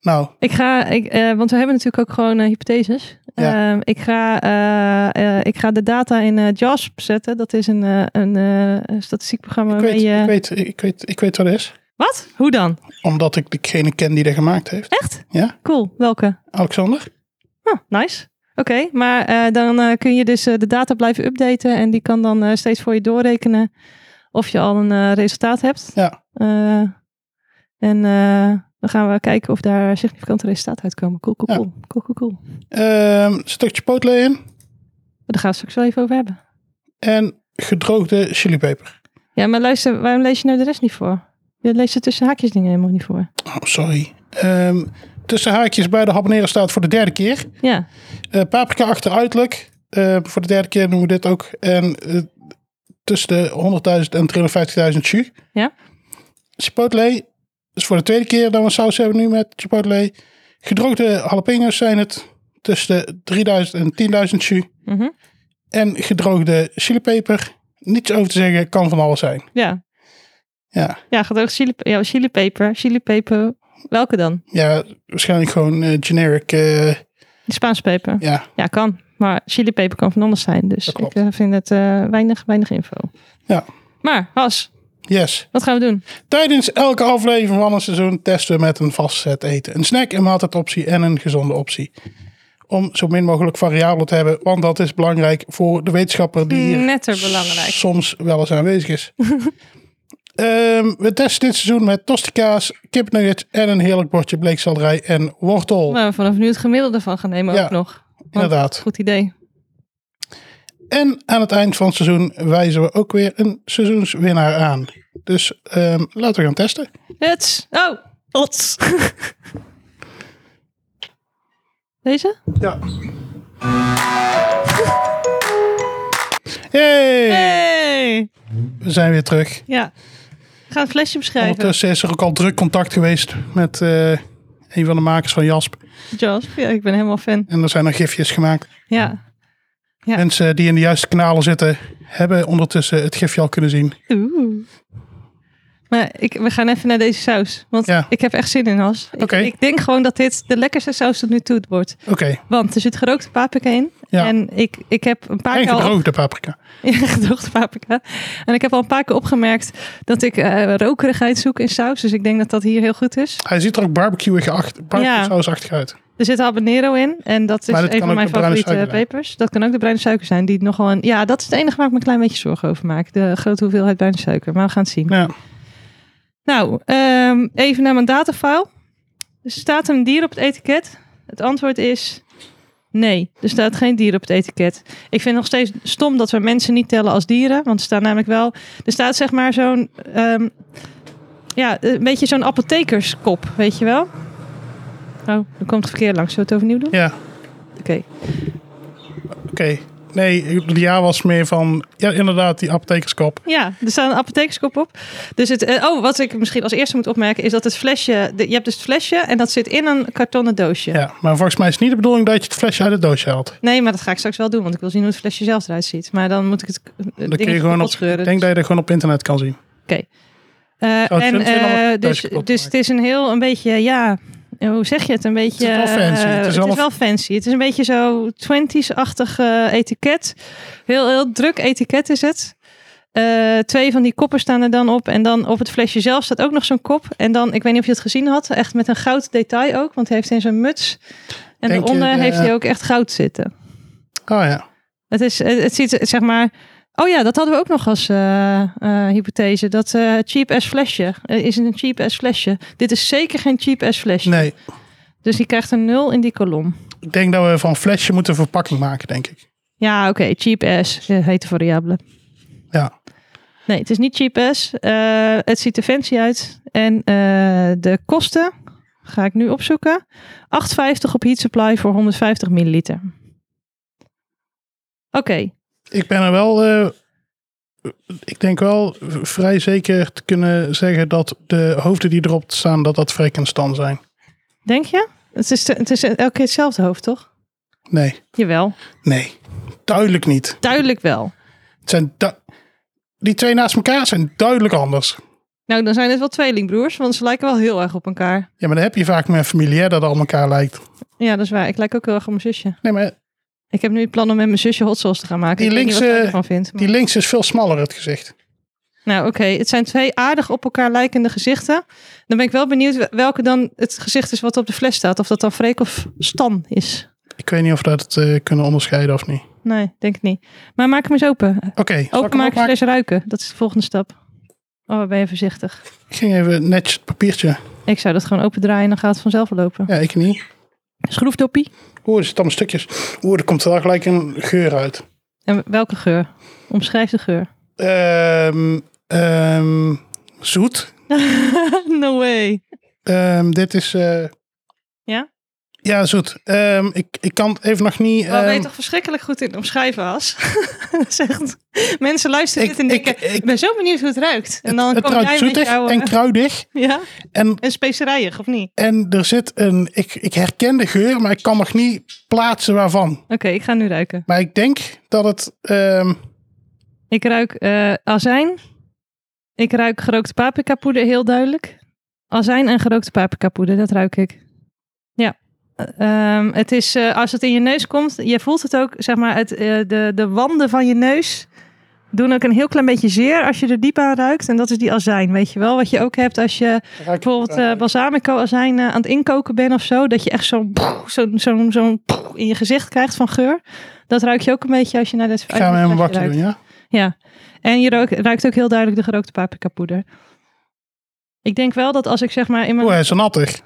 Nou,
Ik ga, ik, eh, want we hebben natuurlijk ook gewoon eh, hypotheses.
Ja.
Ehm, ik, ga, eh, eh, ik ga de data in eh, JASP zetten. Dat is een, eh, een eh, een statistiekprogramma.
ik weet,
waarmee je-
ik, weet, ik, weet, ik weet wat het is.
Wat? Hoe dan?
Omdat ik degene ken die dat gemaakt heeft.
Echt?
Ja.
Cool. Welke?
Alexander?
Ah, nice. Oké, maar eh, dan eh, kun je dus eh, de data blijven updaten. En die kan dan eh, steeds voor je doorrekenen of je al een eh, resultaat hebt.
Ja.
Eh, en eh, dan gaan we kijken of daar significante resultaten uitkomen. Cool, cool,
Ja.
cool. Cool, cool, cool.
Ehm, er zit ook chipotle in.
Daar gaan we het straks wel even over hebben.
En gedroogde chilipeper.
Ja, maar luister, waarom lees je nou de rest niet voor? Je leest er tussen haakjes dingen helemaal niet voor.
Oh, sorry. Ehm, tussen haakjes bij de habanero staat voor de derde keer.
Ja,
Eh, paprika achteruitelijk. Eh, voor de derde keer doen we dit ook. En eh, tussen de 100.000 en 350.000 jus.
Ja.
Chipotle is voor de tweede keer dat we saus hebben nu met chipotle. Gedroogde jalapenos zijn het. Tussen de 3000 en 10.000 jus.
Mhm.
En gedroogde chilipeper. Niets over te zeggen, kan van alles zijn.
ja.
Ja,
Ja, gedroogd chili, ja, chilipeper. Chilipeper, welke dan?
ja waarschijnlijk gewoon eh, generic. eh,
De Spaanse peper.
ja.
Ja, kan. Maar chilipeper kan van anders zijn. Dus
Dat
ik
klopt.
eh, vind het eh, weinig, weinig info.
Ja.
Maar, Has,
Yes.
wat gaan we doen?
Tijdens elke aflevering van een seizoen testen we met een vast set eten. Een snack, een maaltijdoptie en een gezonde optie. Om zo min mogelijk variabelen te hebben, want dat is belangrijk voor de wetenschapper die hier
Netter belangrijk.
soms wel eens aanwezig is. Ehm, we testen dit seizoen met tostikaas, kipnuggets en een heerlijk bordje bleekselderij en wortel.
Waar we vanaf nu het gemiddelde van gaan nemen
Oh. Ja,
ook nog. Want-
inderdaad.
Goed idee.
En aan het eind van het seizoen wijzen we ook weer een seizoenswinnaar aan. Dus ehm, laten we gaan testen.
Het. Oh, ots. Deze?
Ja. Hey!
Hey!
We zijn weer terug.
Ja. We gaan het flesje beschrijven.
Ondertussen is er ook al druk contact geweest met eh, een van de makers van Jasp.
Jasp, ja, ik ben helemaal fan.
En er zijn nog gifjes gemaakt.
Ja. Ja.
Mensen die in de juiste kanalen zitten, hebben ondertussen het gifje al kunnen zien.
Oeh. Maar ik, we gaan even naar deze saus. Want
Ja.
ik heb echt zin in, Has. Ik,
Oké.
ik denk gewoon dat dit de lekkerste saus tot nu toe wordt.
Oké,
Want er zit gerookte paprika in.
Ja.
En ik, ik heb een paar
En
keer al
gedroogde paprika.
Ja, gedoogde paprika. En ik heb al een paar keer opgemerkt dat ik eh, rokerigheid zoek in saus. Dus ik denk dat dat hier heel goed is.
Hij ziet er ook barbecue-achtig
Ja.
barbecue uit.
Er zit habanero in. En dat is
Maar dat
een
kan
van
ook
mijn
de bruine
favoriete
suiker zijn.
pepers. Dat kan ook de bruine suiker zijn. Die nogal een, ja, dat is het enige waar ik me een klein beetje zorgen over maak. De grote hoeveelheid bruine suiker. Maar we gaan het zien.
Ja.
Nou, ehm, even naar mijn datafile. Er staat een dier op het etiket. Het antwoord is nee. Er staat geen dier op het etiket. Ik vind het nog steeds stom dat we mensen niet tellen als dieren. Want er staat namelijk wel... Er staat zeg maar zo'n... ehm, ja, een beetje zo'n apothekerskop, weet je wel? Oh, dan komt het verkeer langs. Zullen we het overnieuw doen?
Ja,
Oké.
oké. Nee, het jaar was meer van... Ja, inderdaad, die apothekerskop.
Ja, er staat een apothekerskop op. Dus het, eh, oh, wat ik misschien als eerste moet opmerken is dat het flesje... de- je hebt dus het flesje en dat zit in een kartonnen doosje.
Ja, maar volgens mij is het niet de bedoeling dat je het flesje uit het doosje haalt.
Nee, maar dat ga ik straks wel doen, want ik wil zien hoe het flesje zelf eruit ziet. Maar dan moet ik het eh,
Dan kun
dingetje
je gewoon
kapot
op,
scheuren.
ik denk dat je dat gewoon op internet kan zien.
Eh,
het
en,
vindt- vindt allemaal
eh,
het
dus,
doosje kapot
dus het is een heel, een beetje, ja, eh, hoe zeg je het? Een beetje...
wel fancy. Het
eh,
is
het is
allemaal-
wel fancy. Het is een beetje zo 20s-achtig eh, etiket. Heel, heel druk etiket is het. Eh, twee van die koppen staan er dan op. En dan op het flesje zelf staat ook nog zo'n kop. En dan, ik weet niet of je het gezien had, echt met een goud detail ook. Want hij heeft in zijn muts. En
Denk je
daaronder
de-
heeft hij ook echt goud zitten.
Oh ja.
Het, is, het, het ziet zeg maar. Oh ja, dat hadden we ook nog als eh, eh, hypothese. Dat eh, cheap ass flesje eh, is een cheap ass flesje. Dit is zeker geen cheap ass flesje.
Nee,
Dus die krijgt een nul in die kolom.
ik denk dat we van flesje moeten verpakking maken, denk ik.
Ja, oké, cheap ass eh, heet de variabele.
Ja.
Nee, het is niet cheap ass. Eh, het ziet er fancy uit. En eh, de kosten ga ik nu opzoeken. 8,50 op Heat Supply voor 150 milliliter. Oké,
Ik ben er wel... eh, ik denk wel vrij zeker te kunnen zeggen dat de hoofden die erop staan, dat dat Frankenstein zijn.
denk je? Het is, het is eh, elke keer hetzelfde hoofd, toch?
Nee,
Jawel.
nee. Duidelijk niet.
Duidelijk wel.
Het zijn du- die twee naast elkaar zijn duidelijk anders.
Nou, dan zijn het wel tweelingbroers, want ze lijken wel heel erg op elkaar.
Ja, maar dan heb je vaak met een familiair dat aan elkaar lijkt.
Ja, dat is waar. Ik lijk ook heel erg op mijn zusje.
Nee, maar
Ik heb nu het plan om met mijn zusje hot sauce te gaan maken.
Die
ik weet niet
linkse-
wat ik ervan vind. maar-
die links is veel smaller, het gezicht.
Nou, oké. Het zijn twee aardig op elkaar lijkende gezichten. Dan ben ik wel benieuwd welke dan het gezicht is wat op de fles staat. Of dat dan Freek of Stan is.
Ik weet niet of we dat eh, kunnen onderscheiden of niet.
Nee, denk ik niet. Maar maak hem eens open.
Oké, zal ik hem
Openmaken,
opmaken?
fles ruiken. Dat is de volgende stap. Oh, ben je voorzichtig.
Ik ging even netjes het papiertje.
Ik zou dat gewoon opendraaien en dan gaat het vanzelf lopen.
Ja, ik niet.
Schroefdoppie.
Oeh, er zitten allemaal stukjes. Oeh, er komt er wel gelijk een geur uit.
En welke geur? Omschrijf de geur.
Ehm, ehm, zoet.
no way.
Ehm, dit is... eh,
Ja?
Ja, zoet. Ehm, ik, ik kan het even nog niet...
Waar ben je
ehm,
toch verschrikkelijk goed in omschrijven, As? Dat is echt- Mensen luisteren
Ik-
dit en
ik-
denken, ik,
ik-
ben zo benieuwd hoe het ruikt. En dan
het
kom
ruikt
jij met
zoetig
jouw...
en
eh,
kruidig.
ja?
En,
En specerijen, of niet?
en er zit een... Ik, ik herken de geur, maar ik kan nog niet plaatsen waarvan.
Oké, ik ga nu ruiken.
Maar ik denk dat het... ehm,
Ik ruik eh, azijn. Ik ruik gerookte paprikapoeder heel duidelijk. Azijn en gerookte paprikapoeder, dat ruik ik. Ja. Eh, ehm, het is, eh, als het in je neus komt, je voelt het ook, zeg maar, het, eh, de, de wanden van je neus doen ook een heel klein beetje zeer als je er diep aan ruikt. En dat is die azijn, weet je wel? Wat je ook hebt als je
raak-
bijvoorbeeld eh, balsamico-azijn eh, aan het inkoken bent of zo. Dat je echt zo'n poeh, zo'n zo'n zo'n poeh in je gezicht krijgt van geur. Dat ruik je ook een beetje als je naar dit
Ik ga hem
uit
helemaal
dit flesje
wakker
ruikt.
doen, ja?
Ja, en je rook- ruikt ook heel duidelijk de gerookte paprikapoeder. Ik denk wel dat als ik zeg maar in mijn...
Oeh, hij is nattig.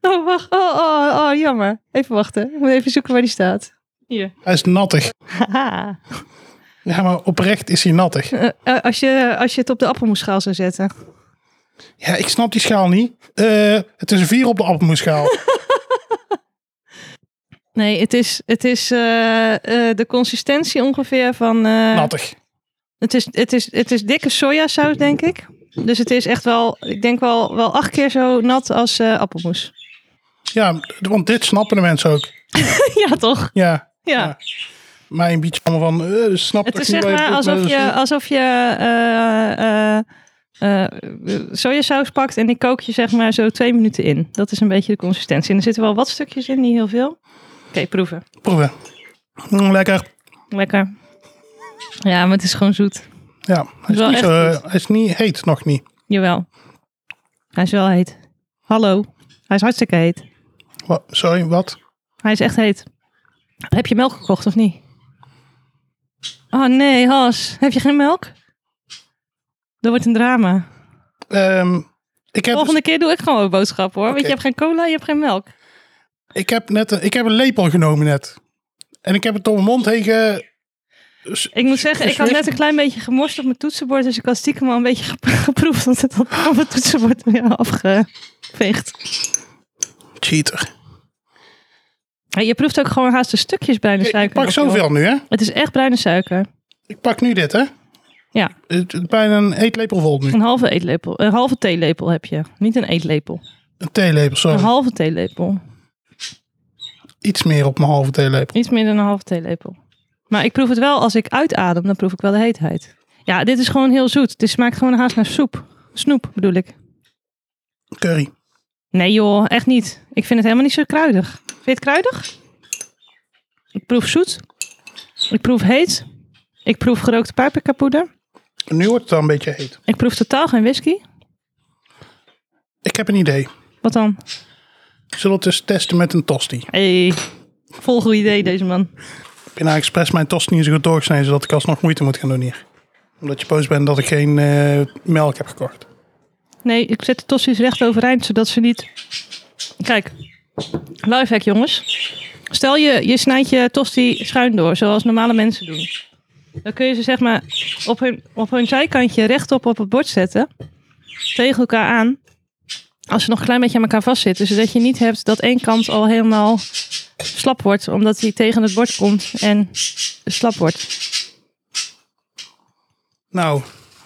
Oh, wacht. Oh, oh, oh, jammer. Even wachten. Ik moet even zoeken waar die staat. Hier.
Hij is nattig.
Haha.
Ja, maar oprecht is hij nattig.
Eh, eh, als, je, als je het op de appelmoesschaal zou zetten.
Ja, ik snap die schaal niet. Eh, het is een vier op de appelmoesschaal.
Nee, het is, het is eh, eh, de consistentie ongeveer van... eh,
nattig.
Het is, het, is, het is dikke sojasaus, denk ik. Dus het is echt wel, ik denk wel, wel acht keer zo nat als eh, appelmoes.
Ja, want dit snappen de mensen ook.
ja, toch?
Ja,
ja.
Ja. mijn beetje allemaal van, eh, dus snap
Het
toch
is
niet
zeg
waar
maar
bedoelt met
alsof je,
een-
alsof je eh, eh, eh, sojasaus pakt en die kook je zeg maar zo twee minuten in. Dat is een beetje de consistentie. En er zitten wel wat stukjes in, niet heel veel. Oké, proeven.
Proeven. Mm, lekker.
Lekker. Ja, maar het is gewoon zoet.
Ja, hij is,
Wel
niet
echt
zo, eh,
goed.
hij is niet heet nog niet.
Jawel. Hij is wel heet. Hallo. Hij is hartstikke heet.
Wa- sorry, wat?
Hij is echt heet. Heb je melk gekocht of niet? Oh nee, Has. Heb je geen melk? Dat wordt een drama.
Ehm, ik, heb,
Volgende keer doe ik gewoon een boodschap hoor. Want
Oké.
je hebt geen cola, je hebt geen melk.
dus, ik, heb net een, ik heb een lepel genomen net. En ik heb het door mijn mond heen ge...
Ik moet zeggen, ik had net een klein beetje gemorst op mijn toetsenbord. Dus ik had stiekem al een beetje gep- geproefd. Want het had op mijn toetsenbord weer afgeveegd.
Cheater.
Ja, je proeft ook gewoon haast de stukjes bruine
Ik,
suiker.
ik pak
op, joh.
zoveel nu, hè?
Het is echt bruine suiker.
Ik pak nu dit, hè?
Ja.
Het, het- bijna een eetlepel vol nu.
Een halve eetlepel. Een halve theelepel heb je. Niet een eetlepel.
Een theelepel,
Een
sorry.
halve theelepel.
Iets meer op mijn halve theelepel.
Iets meer dan een halve theelepel. Maar ik proef het wel als ik uitadem, dan proef ik wel de heetheid. Ja, dit is gewoon heel zoet. Dit smaakt gewoon haast naar soep. Snoep bedoel ik.
Curry.
Nee joh, echt niet. Ik vind het helemaal niet zo kruidig. Vind je het kruidig? Ik proef zoet. Ik proef heet. Ik proef gerookte paprikapoeder.
Nu wordt het al een beetje heet.
Ik proef totaal geen whisky.
Ik heb een idee.
Wat dan?
Zullen we het eens testen met een tosti? Ik
Hé, hey, vol goed idee deze man.
heb nou expres mijn tosti niet zo goed doorgesneden, zodat ik alsnog moeite moet gaan doen hier. Omdat je boos bent dat ik geen eh, melk heb gekocht.
Nee, ik zet de tossies recht overeind, zodat ze niet... Kijk, lifehack jongens. Stel je, je snijdt je tosti schuin door, zoals normale mensen doen. Dan kun je ze zeg maar op hun, op hun zijkantje rechtop op het bord zetten. Tegen elkaar aan. Als ze nog een klein beetje aan elkaar vastzitten. Zodat je niet hebt dat één kant al helemaal slap wordt. Omdat hij tegen het bord komt en slap wordt.
Nou,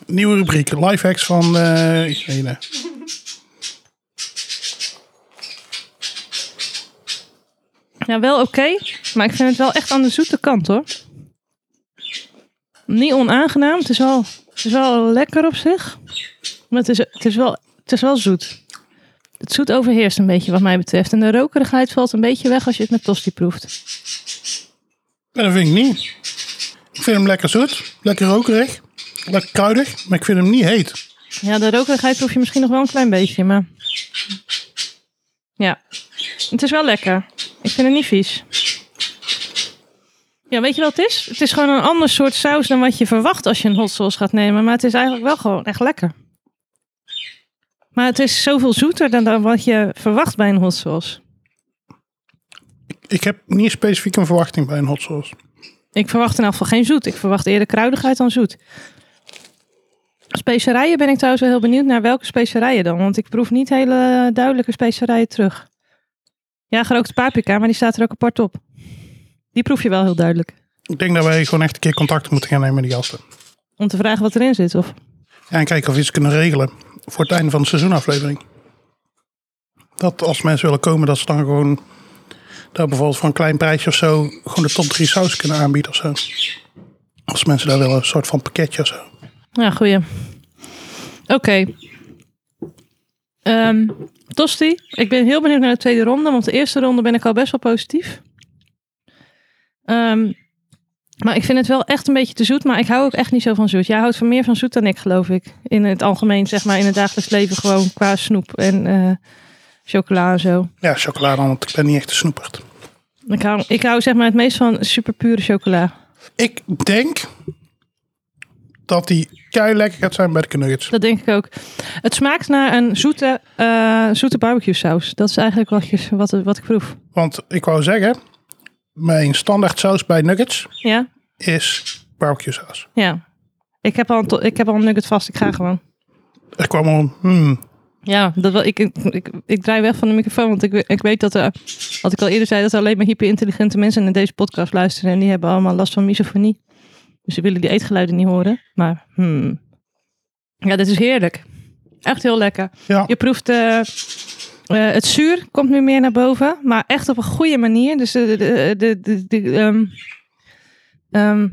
nieuwe rubriek. Lifehacks van eh Irene.
Ja, wel oké. maar ik vind het wel echt aan de zoete kant hoor. Niet onaangenaam. Het is wel, het is wel lekker op zich. Maar het is, het, is wel, het is wel zoet. Het zoet overheerst een beetje wat mij betreft. En de rokerigheid valt een beetje weg als je het met tosti proeft.
Ja, dat vind ik niet. Ik vind hem lekker zoet, lekker rokerig, lekker kruidig, maar ik vind hem niet heet.
Ja, de rokerigheid proef je misschien nog wel een klein beetje. Maar ja, het is wel lekker. Ik vind het niet vies. Ja, weet je wat het is? Het is gewoon een ander soort saus dan wat je verwacht als je een hot sauce gaat nemen. Maar het is eigenlijk wel gewoon echt lekker. Maar het is zoveel zoeter dan, dan wat je verwacht bij een hot sauce.
Ik heb niet specifiek een verwachting bij een hot sauce.
Ik verwacht in elk geval geen zoet. Ik verwacht eerder kruidigheid dan zoet. Specerijen ben ik trouwens wel heel benieuwd naar welke specerijen dan. Want ik proef niet hele duidelijke specerijen terug. Ja, gerookte paprika, maar die staat er ook apart op. Die proef je wel heel duidelijk.
Ik denk dat wij gewoon echt een keer contact moeten gaan nemen met die gasten.
Om te vragen wat erin zit. Of...
Ja, en kijken of we iets kunnen regelen voor het einde van de seizoenaflevering. Dat als mensen willen komen, dat ze dan gewoon... Daar bijvoorbeeld voor een klein prijsje of zo... gewoon de top 3 saus kunnen aanbieden of zo. Als mensen daar willen, een soort van pakketje of zo.
Ja, goeie. Oké. Ehm, Tosti, ik ben heel benieuwd naar de tweede ronde. Want de eerste ronde ben ik al best wel positief. Ehm, maar ik vind het wel echt een beetje te zoet. Maar ik hou ook echt niet zo van zoet. Jij houdt van meer van zoet dan ik, geloof ik. In het algemeen, zeg maar, in het dagelijks leven gewoon qua snoep en eh, chocola en zo.
Ja, chocolade, want ik ben niet echt een snoeperd.
Ik hou, ik hou zeg maar het meest van superpure chocola.
Ik denk dat die kei lekker gaat zijn bij de nuggets.
Dat denk ik ook. Het smaakt naar een zoete, eh zoete barbecue saus. Dat is eigenlijk wat, je, wat, wat ik proef.
Want ik wou zeggen, mijn standaard saus bij nuggets
Ja,
is barbecue saus.
ja. Ik heb al een, to- ik heb al een nugget vast. Ik ga gewoon.
Er kwam al een, hmm,
Ja, dat wel, ik, ik, ik, ik draai weg van de microfoon. Want ik, we- ik weet dat er, wat ik al eerder zei, dat er alleen maar hyperintelligente mensen naar deze podcast luisteren. En die hebben allemaal last van misofonie. Dus ze willen die eetgeluiden niet horen. Maar hmm. Ja, dit is heerlijk. Echt heel lekker.
ja,
Je proeft eh, eh, het zuur komt nu meer naar boven, maar echt op een goede manier. Dus de, de, de, de, de, ehm, ehm,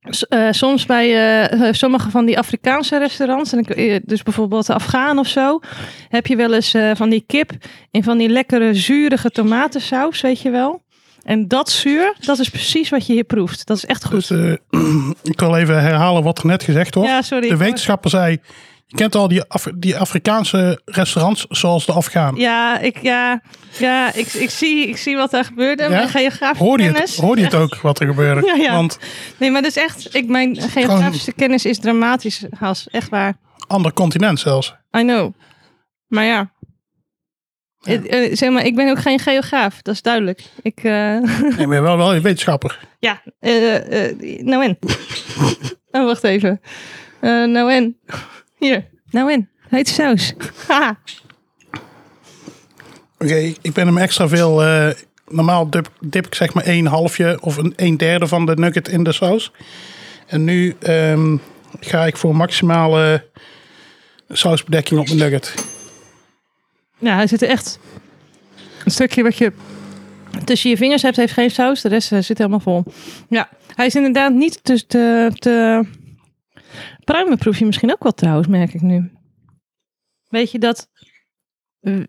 s- eh, soms bij eh, sommige van die Afrikaanse restaurants, en ik, eh, dus bijvoorbeeld de Afghaan of zo, heb je wel eens eh, van die kip in van die lekkere zurige tomatensaus, weet je wel. En dat zuur, dat is precies wat je hier proeft. Dat is echt goed.
Dus, eh, ik wil even herhalen wat er net gezegd wordt.
Ja, sorry.
de wetenschapper zei, je kent al die, Af- die Afrikaanse restaurants zoals de Afghaan.
Ja, ik, ja, ja ik, ik, zie, ik zie wat daar gebeurde.
Ja?
Mijn geografische
Hoorde je, het,
kennis.
hoorde je het ook wat er gebeurde?
Ja, ja.
Want
Nee, maar dat is echt. Ik, mijn geografische kennis is dramatisch, Has. Echt waar.
ander continent zelfs.
I know. Maar ja. Het, eh, zeg maar, ik ben ook geen geograaf, dat is duidelijk. Ik, eh,
Nee, maar wel, wel een wetenschapper.
ja, eh, eh, nou en. oh, wacht even. Eh, nou en. Hier, nou en. Heet saus. Haha.
Oké, ik ben hem extra veel... eh, normaal dip, dip ik zeg maar een halfje of een, een derde van de nugget in de saus. En nu ehm, ga ik voor maximale sausbedekking op mijn nugget.
Ja, hij zit er echt. Een stukje wat je tussen je vingers hebt, heeft geen saus. De rest eh, zit helemaal vol. Ja, hij is inderdaad niet te, te, te... Pruimen proef je misschien ook wel trouwens, merk ik nu. Weet je dat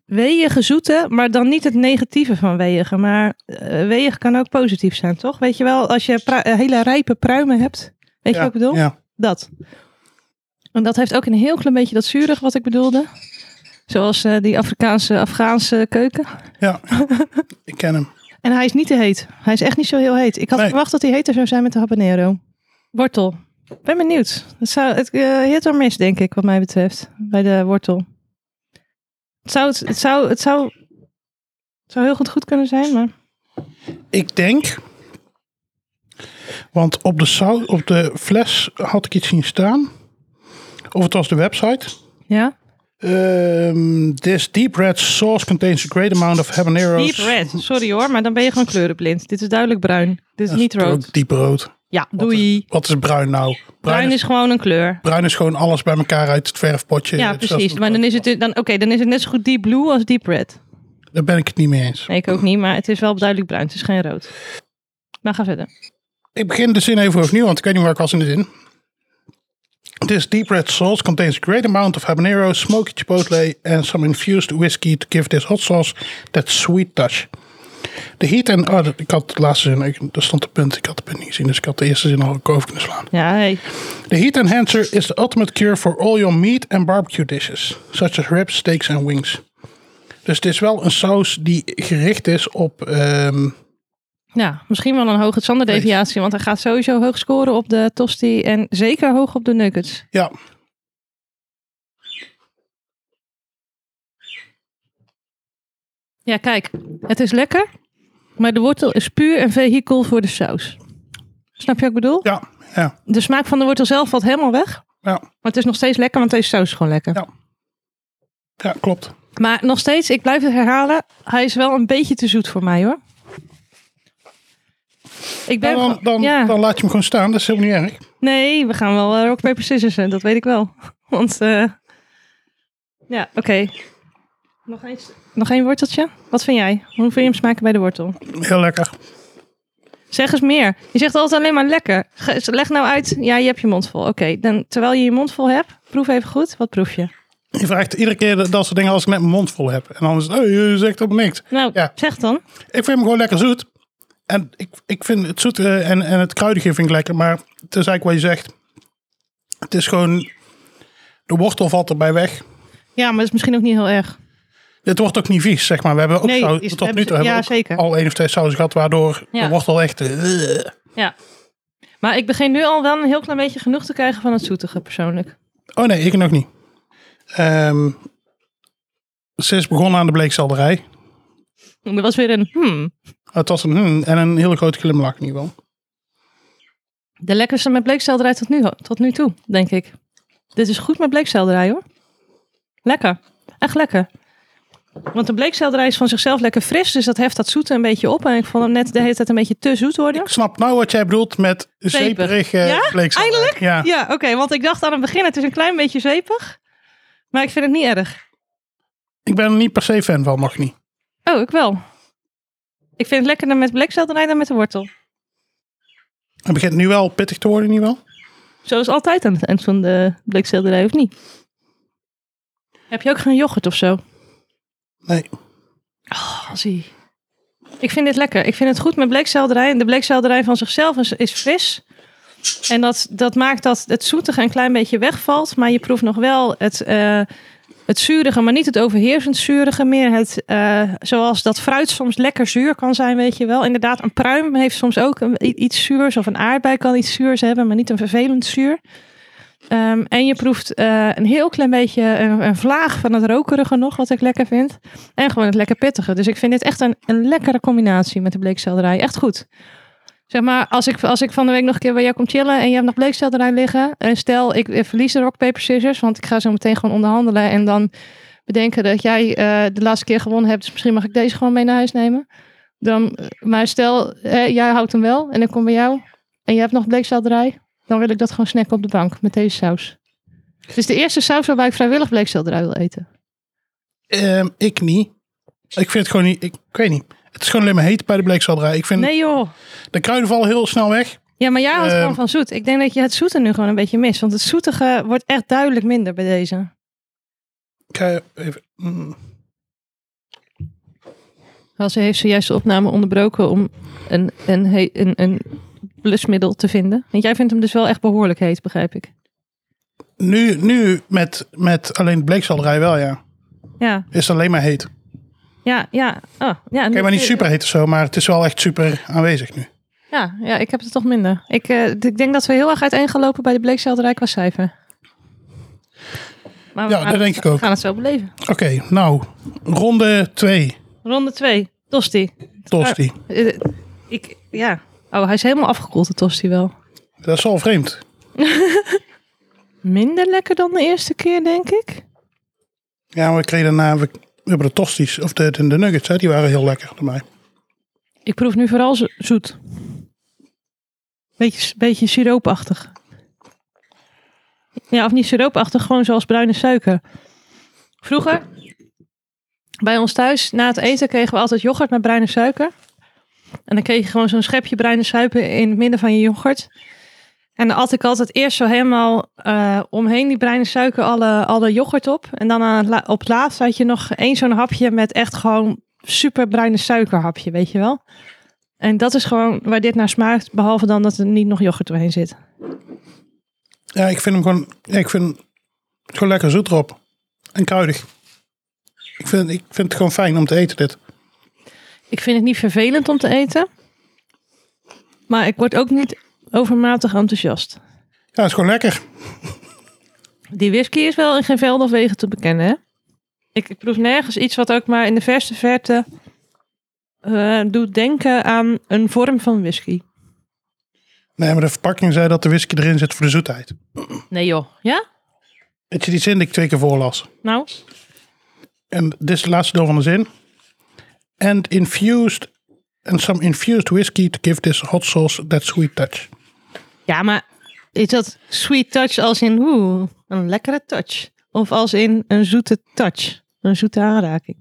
weeige zoete, maar dan niet het negatieve van weeige. Maar eh, weeg kan ook positief zijn, toch? Weet je wel, als je pru- eh, hele rijpe pruimen hebt. Weet je
Ja,
wat ik bedoel?
Ja.
Dat. En dat heeft ook een heel klein beetje dat zuurig wat ik bedoelde. Zoals eh, die Afrikaanse, Afghaanse keuken.
ja, ik ken hem.
En hij is niet te heet. Hij is echt niet zo heel heet. Ik had
Nee.
verwacht dat hij heter zou zijn met de habanero. Wortel. Ben benieuwd. Het zou het eh, hit or miss, denk ik, wat mij betreft. Bij de wortel. Het zou, het, zou, het, zou, het zou heel goed goed kunnen zijn, maar...
Ik denk. Want op de, sau- op de fles had ik iets zien staan. Of het was de website.
Ja?
Ehm, this deep red sauce contains a great amount of habaneros.
Deep red. Sorry hoor, maar dan ben je gewoon kleurenblind. Dit is duidelijk bruin. Dit is niet
Dat is
rood.
Ook diep rood.
Ja, doei.
Wat is bruin nou? Bruin,
Bruin
is,
is gewoon een kleur.
bruin is gewoon alles bij elkaar uit het verfpotje.
Ja,
Het is
precies.
zelfs-
Maar dan is het, dan, oké, dan is het net zo goed deep blue als deep red.
Daar ben ik het niet mee eens.
Nee, ik ook niet, maar het is wel duidelijk bruin. Het is geen rood. Maar ga verder.
Ik begin de zin even opnieuw, want ik weet niet waar ik was in de zin. This deep red sauce contains a great amount of habanero, smoky chipotle and some infused whiskey to give this hot sauce that sweet touch. The heat and... Oh, dat- ik had de laatste zin, ik, daar stond een punt, ik had de punt niet gezien, dus ik had de eerste zin al over kunnen slaan.
Ja, hey.
The heat enhancer is the ultimate cure for all your meat and barbecue dishes, such as ribs, steaks and wings. Dus het is wel een saus die gericht is op... ehm,
ja misschien wel een hoge standaarddeviatie, want hij gaat sowieso hoog scoren op de tosti en zeker hoog op de nuggets.
Ja.
Ja, kijk, het is lekker, maar de wortel is puur een vehikel voor de saus. Snap je wat ik bedoel?
Ja, ja,
De smaak van de wortel zelf valt helemaal weg,
ja,
maar het is nog steeds lekker, want deze saus is gewoon lekker.
Ja. ja, klopt.
Maar nog steeds, ik blijf het herhalen. Hij is wel een beetje te zoet voor mij hoor. Ik ben
Nou, dan,
gewoon-
dan,
ja.
dan laat je hem gewoon staan, dat is helemaal niet erg.
Nee, we gaan wel eh, rock, paper, scissors, hè, dat weet ik wel. Want, eh, ja, oké. Nog, eens- nog één worteltje? Wat vind jij? Hoe vind je hem smaken bij de wortel?
Heel lekker.
Zeg eens meer. Je zegt altijd alleen maar lekker. Ge- Leg nou uit, ja, je hebt je mond vol. Oké, dan terwijl je je mond vol hebt, proef even goed. Wat proef je?
Je vraagt iedere keer dat soort dingen als ik net mijn mond vol heb. En dan is het, oh, je zegt op niks.
Nou,
Ja.
zeg dan.
Ik vind hem gewoon lekker zoet. En ik, ik vind het zoete en, en het kruidige vind ik lekker. Maar het is eigenlijk wat je zegt. Het is gewoon, de wortel valt erbij weg.
Ja, maar dat is misschien ook niet heel erg.
Dit wordt ook niet vies, zeg maar. We hebben ook
Nee,
saus-
is-
tot nu
hebben
toe
ze-
hebben
ja,
we ook
zeker.
al één of twee sausen gehad, waardoor
Ja.
de wortel echt... eh,
Ja. Maar ik begin nu al wel een heel klein beetje genoeg te krijgen van het zoetige persoonlijk.
Oh nee, ik nog niet. Ehm, ze is begonnen aan de bleekselderij.
Er was weer een hmm.
Het was een hmm, en een hele grote glimlach in ieder geval.
De lekkerste met bleekselderij tot nu, tot nu toe, denk ik. Dit is goed met bleekselderij hoor. Lekker. Echt lekker. Want de bleekselderij is van zichzelf lekker fris, dus dat heft dat zoete een beetje op. En ik vond hem net de hele tijd een beetje te zoet worden.
Ik snap nou wat jij bedoelt met zeeperig eh
Ja?
bleekselderij.
Eindelijk?
Ja.
Ja, oké, want ik dacht aan het begin, het is een klein beetje zeepig. Maar ik vind het niet erg.
Ik ben er niet per se fan van, mag niet.
Oh, ik wel. Ik vind het lekkerder met bleekselderij dan met de wortel.
Het begint nu wel pittig te worden, niet wel?
Zoals altijd aan het eind van de bleekselderij, of niet? Heb je ook geen yoghurt of zo?
Nee.
Oh, zie. Ik vind dit lekker. Ik vind het goed met bleekselderij. De bleekselderij van zichzelf is, is fris. En dat, dat maakt dat het zoetige een klein beetje wegvalt. Maar je proeft nog wel het, eh, het zuurige, maar niet het overheersend zuurige. Meer het, eh, zoals dat fruit soms lekker zuur kan zijn, weet je wel. Inderdaad, een pruim heeft soms ook een- i- iets zuurs. Of een aardbei kan iets zuurs hebben, maar niet een vervelend zuur. Ehm, en je proeft eh, een heel klein beetje een, een vlaag van het rokerige nog, wat ik lekker vind. En gewoon het lekker pittige. Dus ik vind dit echt een, een lekkere combinatie met de bleekselderij. Echt goed. Zeg maar, als ik, als ik van de week nog een keer bij jou kom chillen en je hebt nog bleekselderij liggen. En stel, ik eh, verlies de rock, paper, scissors. Want ik ga zo meteen gewoon onderhandelen. En dan bedenken dat jij eh, de laatste keer gewonnen hebt. Dus misschien mag ik deze gewoon mee naar huis nemen. Dan, eh, maar stel, eh, jij houdt hem wel. En ik kom bij jou. En je hebt nog bleekselderij. Dan wil ik dat gewoon snacken op de bank met deze saus. Het is de eerste saus waarbij ik vrijwillig bleekselderij wil eten.
Ehm, ik niet. Ik vind het gewoon niet. Ik, ik weet niet. Het is gewoon alleen maar heet bij de bleekselderij. Ik vind
Nee joh.
de kruiden vallen heel snel weg.
Ja, maar jij houdt
Ehm.
gewoon van zoet. Ik denk dat je het zoete nu gewoon een beetje mist. Want het zoetige wordt echt duidelijk minder bij deze.
Ik ga even. mm.
Wel, ze heeft zojuist de opname onderbroken om een, een, he- een, een blusmiddel te vinden. Want jij vindt hem dus wel echt behoorlijk heet, begrijp ik.
Nu, nu met, met alleen de bleekselderij wel, ja.
Ja,
Is het alleen maar heet.
ja, ja. Oh, ja
Oké, maar niet super heet of zo, maar het is wel echt super aanwezig nu.
Ja, ja, ik heb het toch minder. Ik, eh, d- ik denk dat we heel erg uiteengelopen bij de bleekselderij qua cijfer. Maar we
Ja,
gaan-
dat denk ik ook.
We gaan het zo beleven.
Oké, nou, ronde 2,
Ronde 2, Tosti.
Tosti.
Eh, Ik, ja. Oh, hij is helemaal afgekoeld, de Tosti wel.
Dat is al vreemd.
minder lekker dan de eerste keer, denk ik.
Ja, we kregen daarna, we, we hebben de tosties, of de, de, de nuggets, hè, die waren heel lekker voor mij.
Ik proef nu vooral zo- zoet. Beetje, beetje siroopachtig. Ja, of niet siroopachtig, gewoon zoals bruine suiker. Vroeger, bij ons thuis, na het eten kregen we altijd yoghurt met bruine suiker. En dan kreeg je gewoon zo'n schepje bruine suiker in het midden van je yoghurt. En dan at ik altijd eerst zo helemaal eh, omheen die bruine suiker alle, alle yoghurt op. En dan aan het la- op het laatst had je nog één zo'n hapje met echt gewoon super bruine suikerhapje, weet je wel. En dat is gewoon waar dit naar smaakt, behalve dan dat er niet nog yoghurt doorheen zit.
Ja, ik vind hem gewoon, ja, ik vind hem gewoon lekker zoet erop. En kruidig. Ik vind, ik vind het gewoon fijn om te eten, dit.
Ik vind het niet vervelend om te eten, maar ik word ook niet overmatig enthousiast.
Ja, het is gewoon lekker.
Die whisky is wel in geen veld of wegen te bekennen, hè? Ik, ik proef nergens iets wat ook maar in de verste verte eh, doet denken aan een vorm van whisky.
Nee, maar de verpakking zei dat de whisky erin zit voor de zoetheid.
Nee joh, ja?
Het zit iets in die ik twee keer voorlas.
Nou,
En dit is het laatste deel van de zin. And infused, and some infused whiskey to give this hot sauce that sweet touch.
Ja, maar is dat sweet touch als in oeh, een lekkere touch? Of als in een zoete touch? Een zoete aanraking?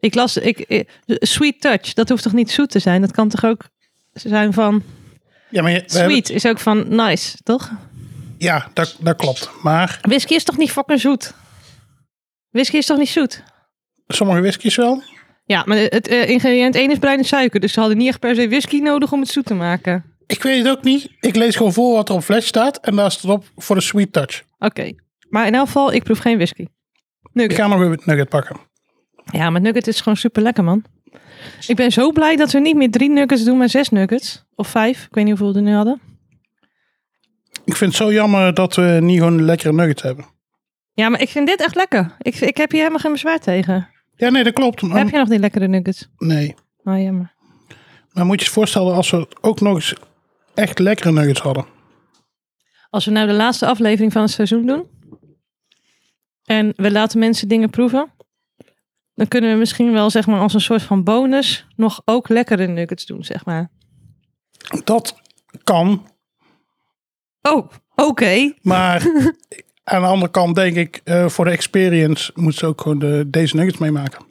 Ik las, ik, ik- sweet touch, dat hoeft toch niet zoet te zijn? Dat kan toch ook zijn van,
Ja, maar je, we hebben-
sweet is ook van nice, toch?
ja dat, dat klopt. Maar
Whisky is toch niet fucking zoet? Whisky is toch niet zoet?
sommige whiskies wel.
Ja, maar het eh, ingrediënt 1 is bruine suiker, dus ze hadden niet echt per se whisky nodig om het zoet te maken.
Ik weet het ook niet. Ik lees gewoon voor wat er op fles staat. En daar staat op voor de sweet touch.
Oké, maar in elk geval, ik proef geen whisky. Nugget.
Ik ga nog weer een nugget pakken.
Ja, maar nugget is gewoon super lekker, man. Ik ben zo blij dat we niet meer drie nuggets doen, maar zes nuggets. Of vijf. Ik weet niet hoeveel we er nu hadden.
Ik vind het zo jammer dat we niet gewoon lekkere nuggets hebben.
Ja, maar ik vind dit echt lekker. Ik, ik heb hier helemaal geen bezwaar tegen.
Ja, nee, dat klopt. Maar-
Heb je nog die lekkere nuggets?
Nee.
Oh, jammer.
Maar moet je je voorstellen als we ook nog eens echt lekkere nuggets hadden.
Als we nou de laatste aflevering van het seizoen doen. En we laten mensen dingen proeven. Dan kunnen we misschien wel, zeg maar, als een soort van bonus. nog ook lekkere nuggets doen, zeg maar.
Dat kan.
Oh, oké.
Maar aan de andere kant denk ik, eh, voor de experience moeten ze ook gewoon de, deze nuggets meemaken.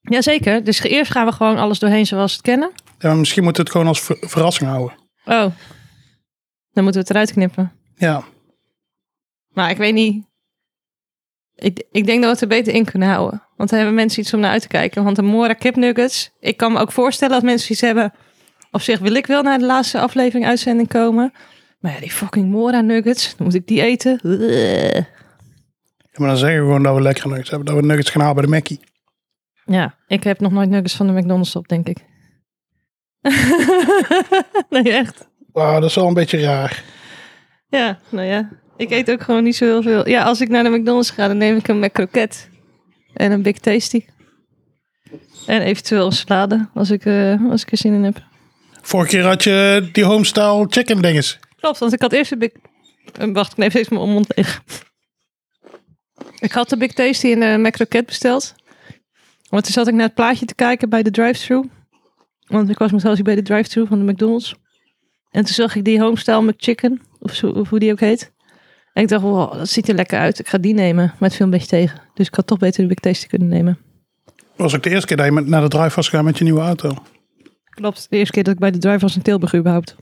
Jazeker. Dus eerst gaan we gewoon alles doorheen zoals we het kennen.
Ja, maar misschien moeten we het gewoon als ver- verrassing houden.
Oh. Dan moeten we het eruit knippen.
Ja.
Maar ik weet niet. Ik, ik denk dat we het er beter in kunnen houden. Want daar hebben mensen iets om naar uit te kijken. Want de Mora kipnuggets. Ik kan me ook voorstellen dat mensen iets hebben. Op zich wil ik wel naar de laatste aflevering uitzending komen. Maar ja, die fucking Mora nuggets. Dan moet ik die eten. Ugh.
Ja, maar dan zeggen we gewoon dat we lekkere nuggets hebben. Dat we nuggets gaan halen bij de Mackie.
Ja, ik heb nog nooit nuggets van de McDonald's op, denk ik. nee, echt.
Wauw, Ah, dat is wel een beetje raar.
Ja, nou ja. Ik eet ook gewoon niet zo heel veel. Ja, als ik naar de McDonald's ga, dan neem ik een McCroket. En een Big Tasty. En eventueel een salade, als ik, eh, als ik er zin in heb.
Vorige keer had je die homestyle chicken dinges.
Klopt, want ik had eerst een Big... eh, Wacht, ik neem steeds mijn mond leeg. Ik had de Big Tasty en de McCroket besteld. Want toen zat ik naar het plaatje te kijken bij de drive-thru. Want ik was met Halsey bij de drive-thru van de McDonald's. En toen zag ik die Homestyle McChicken, of, zo, of hoe die ook heet. En ik dacht, wow, dat ziet er lekker uit. Ik ga die nemen, maar het viel een beetje tegen. Dus ik had toch beter de Big Tasty kunnen nemen.
Dat was ook de eerste keer dat je met- naar de drive was gegaan met je nieuwe auto.
Klopt, de eerste keer dat ik bij de drive was in Tilburg überhaupt.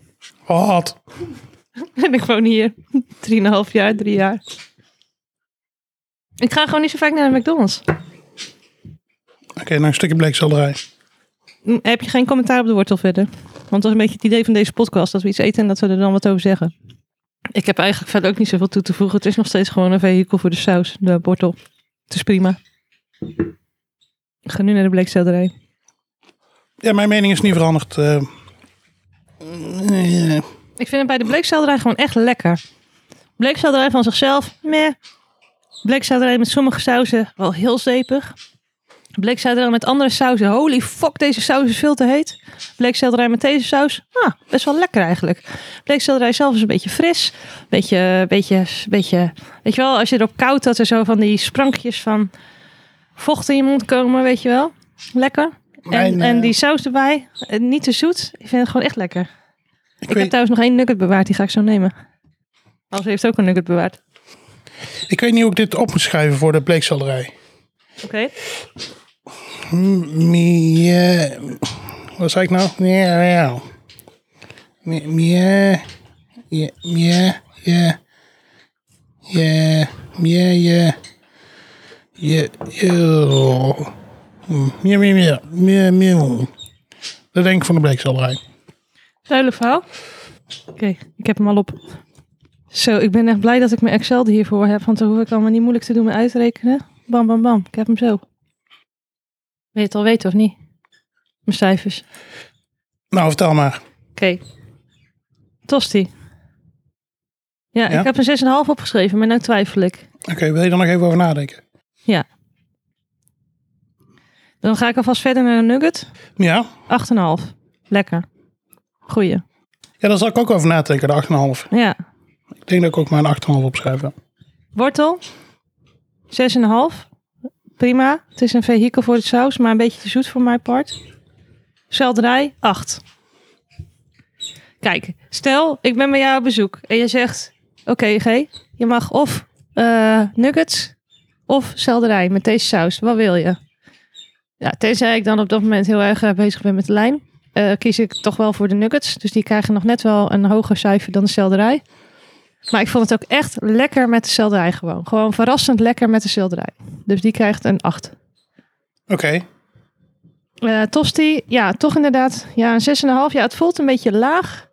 Wat?
En ik woon hier. Drieënhalf jaar, drie jaar. Ik ga gewoon niet zo vaak naar de McDonald's.
Oké, nou een stukje bleekselderij.
M- Hm, Heb je geen commentaar op de wortel verder? Want dat is een beetje het idee van deze podcast. Dat we iets eten en dat we er dan wat over zeggen. Ik heb eigenlijk verder ook niet zoveel toe te voegen. Het is nog steeds gewoon een vehikel voor de saus. De wortel. Het is prima. Ik ga nu naar de bleekselderij.
Ja, mijn mening is niet veranderd. eh. Eh,
Ik vind het bij de bleekselderij gewoon echt lekker. Bleekselderij van zichzelf, meh. Bleekselderij met sommige sauzen, wel heel zeepig. Bleekselderij met andere sauzen, holy fuck, deze saus is veel te heet. Bleekselderij met deze saus, ah, best wel lekker eigenlijk. Bleekselderij zelf is een beetje fris. Beetje, beetje, beetje, weet je wel, als je erop koudt dat er zo van die sprankjes van vocht in je mond komen, weet je wel. Lekker. En,
Mijn, eh,
en die saus erbij, eh, niet te zoet. Ik vind het gewoon echt lekker.
ik,
Ik
weet,
heb trouwens nog één nugget bewaard, die ga ik zo nemen. Als heeft ook een nugget bewaard.
ik weet niet hoe ik dit op moet schrijven voor de bleekselderij.
Oké.
M- Mie. Wat zei ik nou? Miauw. miauw. Mie. Mie. Mie. Mie. Mie. Mie. Mie. Mie. Mie. Eeuw. Hm. Mie. Mie. Mie. Mie. Mie. Dat denk ik van de bleekselderij.
Zuilen verhaal. Oké, ik heb hem al op. Zo, ik ben echt blij dat ik mijn Excel er hiervoor heb, want dan hoef ik allemaal niet moeilijk te doen met uitrekenen. Bam, bam, bam. Ik heb hem zo. Wil je het al weten of niet? Mijn cijfers. Oké.
Nou, vertel maar.
Tosti. Ja,
Ja?
ik heb een 6,5 opgeschreven, maar nu twijfel ik.
Oké, wil je er nog even over nadenken?
Dan ga ik alvast verder naar een nugget.
Ja?
8,5. Lekker. Goeie.
Ja, daar zal ik ook over nadenken, de 8,5.
Ja,
Ik denk dat ik ook maar een 8,5 opschrijf. ja.
Wortel. 6,5. Prima. Het is een vehikel voor de saus, maar een beetje te zoet voor mijn part. Selderij. 8. Kijk, stel ik ben bij jou op bezoek en je zegt: Oké, G, je mag of eh, nuggets of selderij met deze saus. Wat wil je? Ja, tenzij ik dan op dat moment heel erg eh, bezig ben met de lijn, eh, kies ik toch wel voor de nuggets. Dus die krijgen nog net wel een hoger cijfer dan de selderij. Maar ik vond het ook echt lekker met de selderij gewoon. Gewoon verrassend lekker met de selderij. Dus die krijgt een 8.
Oké.
Eh, tosti, ja, toch inderdaad. Ja, een 6,5. Ja, het voelt een beetje laag.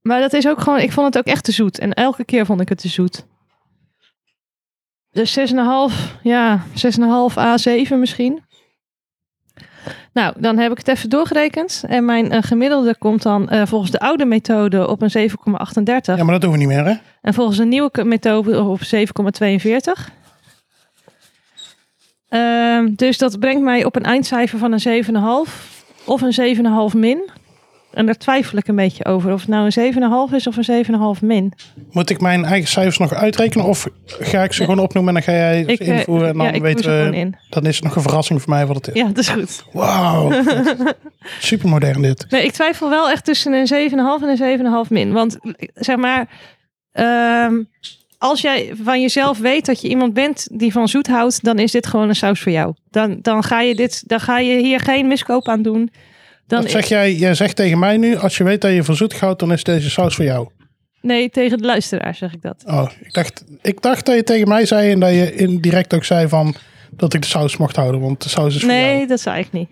Maar dat is ook gewoon... Ik vond het ook echt te zoet. En elke keer vond ik het te zoet. Dus 6,5. Ja, 6,5 A7 misschien. Nou, dan heb ik het even doorgerekend. En mijn eh, gemiddelde komt dan eh, volgens de oude methode op een 7,38.
Ja, maar dat doen we niet meer, hè?
En volgens een nieuwe methode op 7,42. Ehm, dus dat brengt mij op een eindcijfer van een 7,5 of een 7,5 min. En daar twijfel ik een beetje over of het nou een 7,5 is of een 7,5 min.
Moet ik mijn eigen cijfers nog uitrekenen? Of ga ik ze gewoon opnoemen en dan ga jij ze
Ik, eh,
invoeren? En dan
ja, ik
weten
voer ze
we.
gewoon in.
Dan is het nog een verrassing voor mij wat het is.
Ja, dat is goed.
Wauw. Supermodern dit.
Nee, ik twijfel wel echt tussen een 7,5 en een 7,5 min. Want zeg maar, ehm, als jij van jezelf weet dat je iemand bent die van zoet houdt, dan is dit gewoon een saus voor jou. Dan, dan, ga, je dit, dan ga je hier geen miskoop aan doen. Dan
Wat zeg jij? Jij zegt tegen mij nu: als je weet dat je van zoet houdt, dan is deze saus voor jou.
Nee, tegen de luisteraar zeg ik dat.
Oh, ik dacht, ik dacht dat je tegen mij zei en dat je indirect ook zei van. dat ik de saus mocht houden, want de saus is voor jou. Mm.
Nee, dat zei ik niet.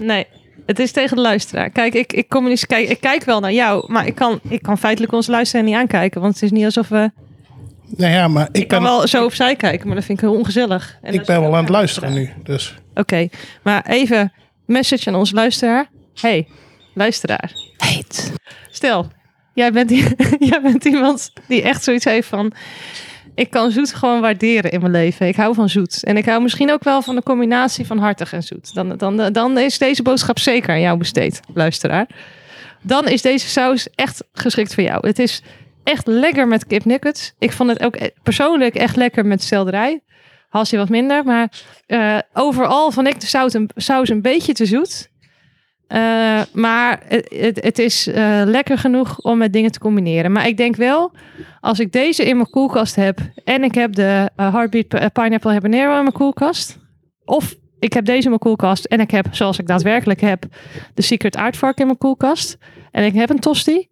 Nee, het is tegen de luisteraar. Kijk, ik, ik, communice- kijk, ik kijk wel naar jou, maar ik kan, ik kan feitelijk onze luisteraar niet aankijken. Want het is niet alsof we...
Nou ja, maar ik,
Ik kan
ben,
wel zo opzij kijken, maar dat vind ik heel ongezellig. En
ik
als
ben
je-
wel aan het luisteren nu. Dus
Oké, maar even message aan onze luisteraar. hey, luisteraar. Heet. Stel, jij bent, i- jij bent iemand die echt zoiets heeft van... Ik kan zoet gewoon waarderen in mijn leven. Ik hou van zoet. En ik hou misschien ook wel van de combinatie van hartig en zoet. Dan, dan, dan is deze boodschap zeker aan jou besteed, luisteraar. Dan is deze saus echt geschikt voor jou. Het is echt lekker met kipnuggets. Ik vond het ook e- persoonlijk echt lekker met selderij. Hasje wat minder, maar eh, overal vond ik de saus een, saus een beetje te zoet. Eh, maar het, het, het is eh, lekker genoeg om met dingen te combineren. Maar ik denk wel, als ik deze in mijn koelkast heb en ik heb de eh, Heartbeat pi- eh, Pineapple Habanero in mijn koelkast. Of ik heb deze in mijn koelkast en ik heb, zoals ik daadwerkelijk heb, de Secret Aardvark in mijn koelkast. En ik heb een tosti.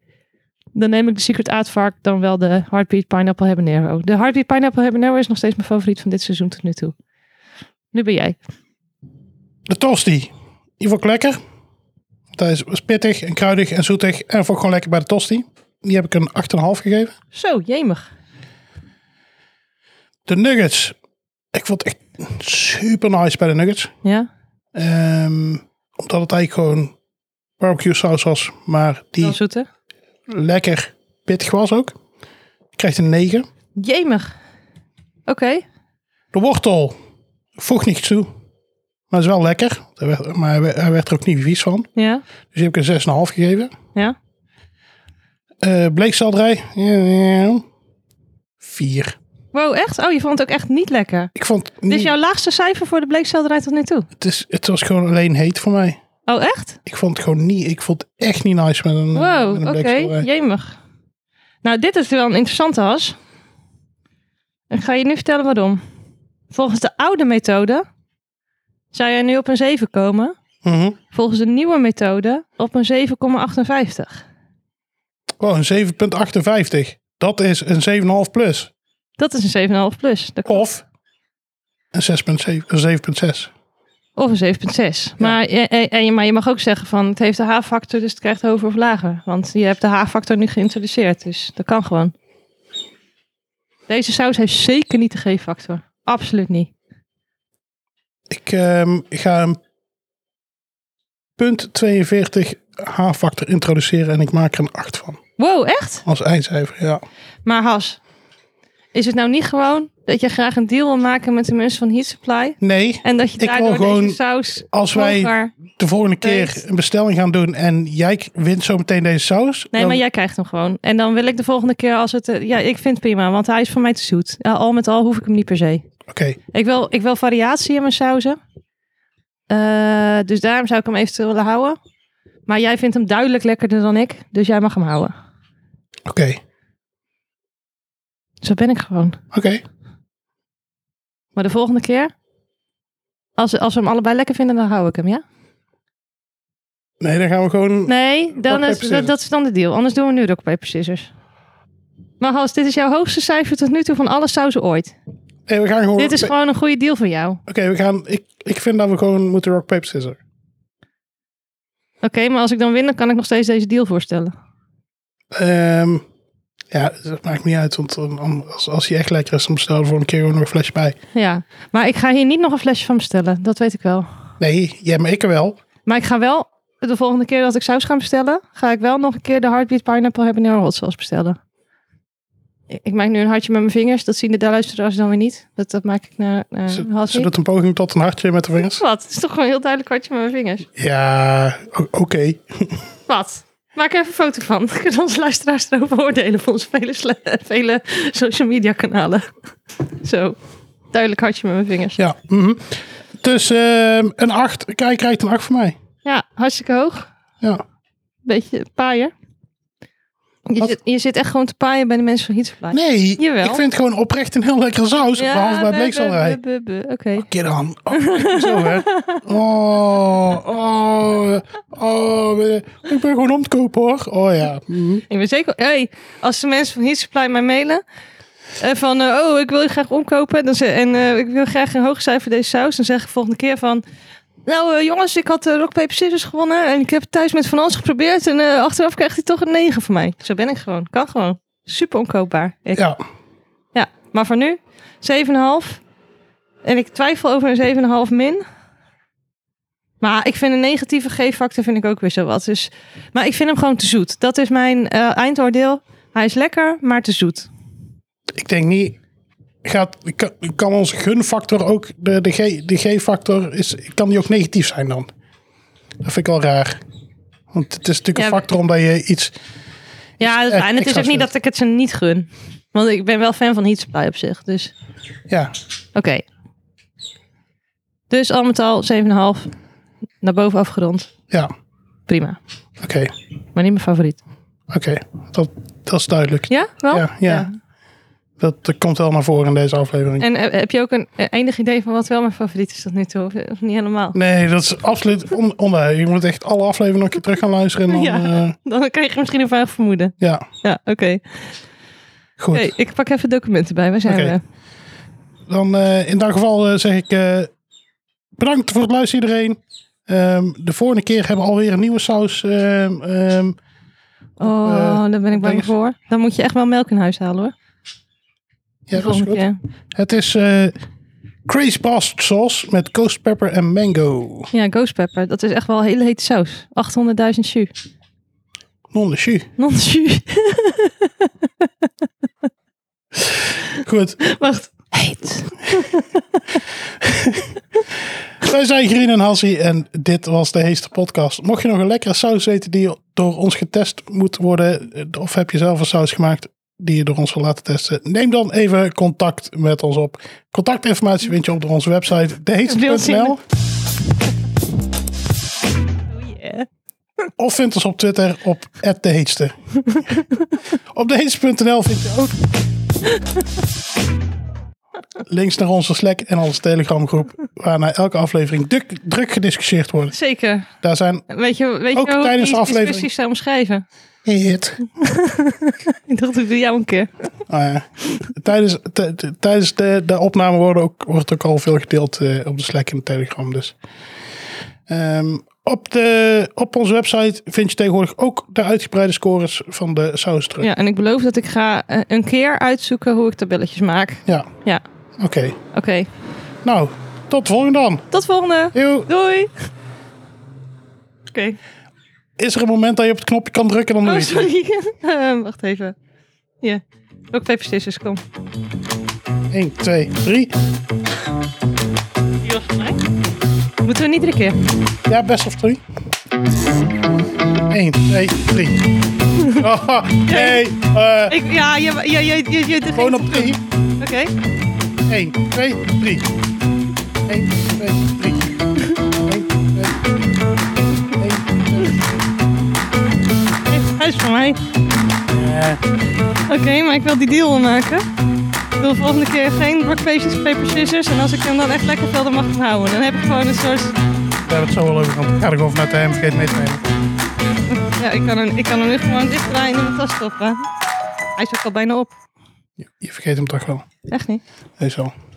Dan neem ik de Secret Aardvark dan wel de Heartbeat Pineapple Habanero. De Heartbeat Pineapple Habanero is nog steeds mijn favoriet van dit seizoen tot nu toe. Nu ben jij.
de tosti. Die vond ik lekker. Dat is was pittig en kruidig en zoetig. En vond ik gewoon lekker bij de tosti. Die heb ik een 8,5 gegeven.
Zo, jemig.
De nuggets. Ik vond het echt super nice bij de nuggets.
Ja,
Ehm, omdat het eigenlijk gewoon barbecue saus was. Maar die
wel zoete.
lekker pittig was ook. Ik kreeg een 9.
Jemig. Oké.
De wortel voegt niets toe. Maar is wel lekker. Hij werd- Maar hij werd- hij werd er ook niet vies van.
Ja,
Dus die heb ik een 6,5 gegeven.
ja.
Eh bleekselderij. ja, ja, ja. Vier.
Wow, echt? Oh, je vond het ook echt niet lekker.
Ik vond het,
Dit
niet-
is jouw laagste cijfer voor de bleekselderij tot nu toe.
het, is, het was gewoon alleen heet voor mij.
Oh, echt?
Ik vond het gewoon niet. Ik vond het echt niet nice met een, eh, met
Wow,
een
oké.
bleekselderij.
Jemig. Nou, dit is wel een interessante has. Ik ga je nu vertellen waarom. Volgens de oude methode zou jij nu op een 7 komen.
Mhm.
Volgens de nieuwe methode op een 7,58.
Wow, een 7,58. Dat is een 7,5 plus.
Dat is een 7,5 plus. Dat
Of een 6,7. Een 7,6.
Of een 7,6. Maar, je- en- en je- maar je mag ook zeggen van het heeft de H-factor, dus het krijgt hoger of lager. Want je hebt de H-factor nu geïntroduceerd, dus dat kan gewoon. Deze saus heeft zeker niet de G-factor. Absoluut niet.
Ik ehm, ga een punt 42 H-factor introduceren en ik maak er een 8 van.
Wow, echt?
Als eindcijfer, ja.
Maar Has, is het nou niet gewoon dat je graag een deal wil maken met de mensen van Heat Supply?
Nee,
En dat je
Ik wil
daardoor
gewoon,
deze saus
als wij
hoger-
de volgende keer
Weet.
een bestelling gaan doen en jij wint zo meteen deze saus.
Nee,
dan-
maar jij krijgt hem gewoon. En dan wil ik de volgende keer als het... eh, Ja, ik vind het prima, want hij is voor mij te zoet. Ja, al met al hoef ik hem niet per se.
Oké,
Ik wil, ik wil variatie in mijn sauzen. Eh, dus daarom zou ik hem eventueel willen houden. Maar jij vindt hem duidelijk lekkerder dan ik. Dus jij mag hem houden.
oké,
Zo ben ik gewoon.
oké.
Maar de volgende keer, als, als we hem allebei lekker vinden, dan hou ik hem, ja?
Nee, dan gaan we gewoon...
Nee,
Rock, paper,
dan is, dat,
scissors.
dat is dan de deal. Anders doen we nu rock, paper, scissors. Maar Hans, dit is jouw hoogste cijfer tot nu toe van alle sauzen ooit.
Nee, we gaan gewoon...
Dit is
Oké,
gewoon een goede deal voor jou.
we gaan... Ik, ik vind dat we gewoon moeten rock, paper, scissors.
Oké, maar als ik dan win, dan kan ik nog steeds deze deal voorstellen.
Ehm, ja, dat maakt niet uit, want dan- dan- als, als hij echt lekker is, dan bestel je er volgende keer gewoon nog een flesje bij.
Ja, maar ik ga hier niet nog een flesje van bestellen. Dat weet ik wel.
Nee, jij maar ik er wel.
Maar ik ga wel de volgende keer dat ik saus ga bestellen, ga ik wel nog een keer de Heartbeat Pineapple Habanero Hot Sauce bestellen. Ik, ik maak nu een hartje met mijn vingers. Dat zien de luisteraars dan weer niet. Dat, dat maak ik naar eh
Ze,
een hartje.
ze doet een poging tot een hartje met de vingers.
Wat? Het is toch gewoon een heel duidelijk hartje met mijn vingers.
Ja, o- oké.
Wat? Maak er even een foto van. Dan kunnen onze luisteraars erover oordelen voor onze vele, sle- vele social media kanalen. Zo. Duidelijk hartje met mijn vingers.
Ja. mhm. Dus ehm, een 8. Kijk, krijgt een 8 van mij.
Ja, hartstikke hoog.
Ja.
Beetje paaien. Je
Wat?
zit, je zit echt gewoon te paaien bij de mensen van Heat Supply.
Nee,
Jawel.
ik vind gewoon oprecht een heel lekkere saus. behalve bij
bu-
bleekselderij.
bu- bu- bu- Oké.
Oké dan. Oh, zo hè. Oh, oh, oh. Ik ben gewoon om te kopen hoor. Oh ja. Mhm.
Ik ben zeker. Hey, als de mensen van Heat Supply mij mailen. Eh, van, eh, oh, ik wil je graag omkopen. Dan ze, en eh, ik wil graag een hoog cijfer deze saus. Dan zeg ik volgende keer van... Nou eh, jongens, ik had eh, Rock Paper Scissors gewonnen. En ik heb het thuis met Van Alles geprobeerd. En eh, achteraf krijgt hij toch een 9 van mij. Zo ben ik gewoon. Kan gewoon. Super onkoopbaar. Ik-
Ja,
ja, maar voor nu 7,5. En ik twijfel over een 7,5 min. Maar ik vind een negatieve G-factor vind ik ook weer zo wat. Dus, maar ik vind hem gewoon te zoet. Dat is mijn eh, eindoordeel. Hij is lekker, maar te zoet.
ik denk niet. Gaat, kan, kan onze gunfactor ook, de, de, G, de G-factor, is, kan die ook negatief zijn dan? Dat vind ik wel raar. Want het is natuurlijk
Ja,
een factor omdat je iets...
Ja,
echt
en het is
extra
ook niet
zoet.
dat ik het ze niet gun. Want ik ben wel fan van Heat Supply op zich. Dus
Ja,
oké. Dus al met al 7,5. Naar boven afgerond.
ja. Oké,
Prima. Maar niet mijn favoriet.
oké. Dat, dat is duidelijk.
Oh, Ja? Wel?
Ja, ja. Dat, dat komt wel naar voren in deze aflevering.
En eh, heb je ook een eh, enig idee van wat wel mijn favoriet is tot nu toe? Of, eh, of niet helemaal?
Nee, dat is absoluut on, onwaar. Je moet echt alle afleveringen nog een keer terug gaan luisteren. En dan,
Ja.
ja.
Dan krijg je misschien een vaag vermoeden.
ja,
Ja, oké.
goed.
Hey, ik pak even documenten bij. Waar zijn
Oké.
we?
Dan eh, in dat geval eh, zeg ik eh, bedankt voor het luisteren iedereen. Ehm, de vorige keer hebben we alweer een nieuwe saus. ehm, ehm,
Oh,
Eh,
daar ben ik bang
dinges.
voor. Dan moet je echt wel melk in huis halen hoor.
ja, dat is
Volgende
goed.
keer.
Het is eh Crazy Bastard Sauce met ghost pepper en mango.
Ja, ghost pepper. Dat is echt wel een hele hete saus. 800.000 jus.
Non de jus.
Non jus.
Goed.
Wacht. Heet.
Wij zijn Green en Hassie en dit was de Heeste Podcast. Mocht je nog een lekkere saus weten die door ons getest moet worden, eh, of heb je zelf een saus gemaakt die je door ons wil laten testen, neem dan even contact met ons op. Contactinformatie vind je op onze website deheetste.nl
Oh yeah.
of vind ons op Twitter op @deheetste. op deheetste.nl vind je ook links naar onze Slack en onze Telegramgroep, waar na elke aflevering druk, druk gediscussieerd wordt.
Zeker.
Daar zijn
Weet je, weet
Ook
je hoe
tijdens de
ik die
aflevering.
discussies zou omschrijven?
hit.
Ik dacht, ik doe jou een keer.
Ah ja. tijdens t- t- tijdens de, de opname worden ook, wordt ook al veel gedeeld eh, op de Slack en de Telegram. Dus. Ehm, op, de, op onze website vind je tegenwoordig ook de uitgebreide scores van de saus terug.
Ja, en ik beloof dat ik ga eh, een keer uitzoeken hoe ik tabelletjes maak.
Ja,
Ja,
oké.
oké.
Nou, tot de volgende dan.
Tot volgende.
Eeuw.
Doei. Oké.
Is er een moment dat je op het knopje kan drukken? Dan doe
Oh,
je het.
sorry. Ehm, wacht even. Ja. Ook paper scissors, kom.
1, 2, 3.
Die was mij. Moeten we niet iedere keer?
Ja, best of 3. 1, 2, 3. Oh, nee. eh,
Ik, ja, je, je, je, je, je, je-
gewoon op 3.
Oké.
1, 2, 3. 1, 2, 3. 1, 2, 3.
Hij is van mij.
Eh,
Oké, maar ik wil die deal wel maken. Ik wil volgende keer geen rock, paper, paper, scissors. En als ik hem dan echt lekker wil, dan mag ik hem houden. Dan heb ik gewoon een soort...
Daar hebben we het zo wel over, want ik ga er gewoon vanuit de hem vergeet mee te nemen.
Ja, ik kan, hem, ik kan hem nu gewoon dichtdraaien en in mijn tas stoppen. Hij is ook al bijna op.
Je vergeet hem toch wel.
Echt niet.
Hij is wel.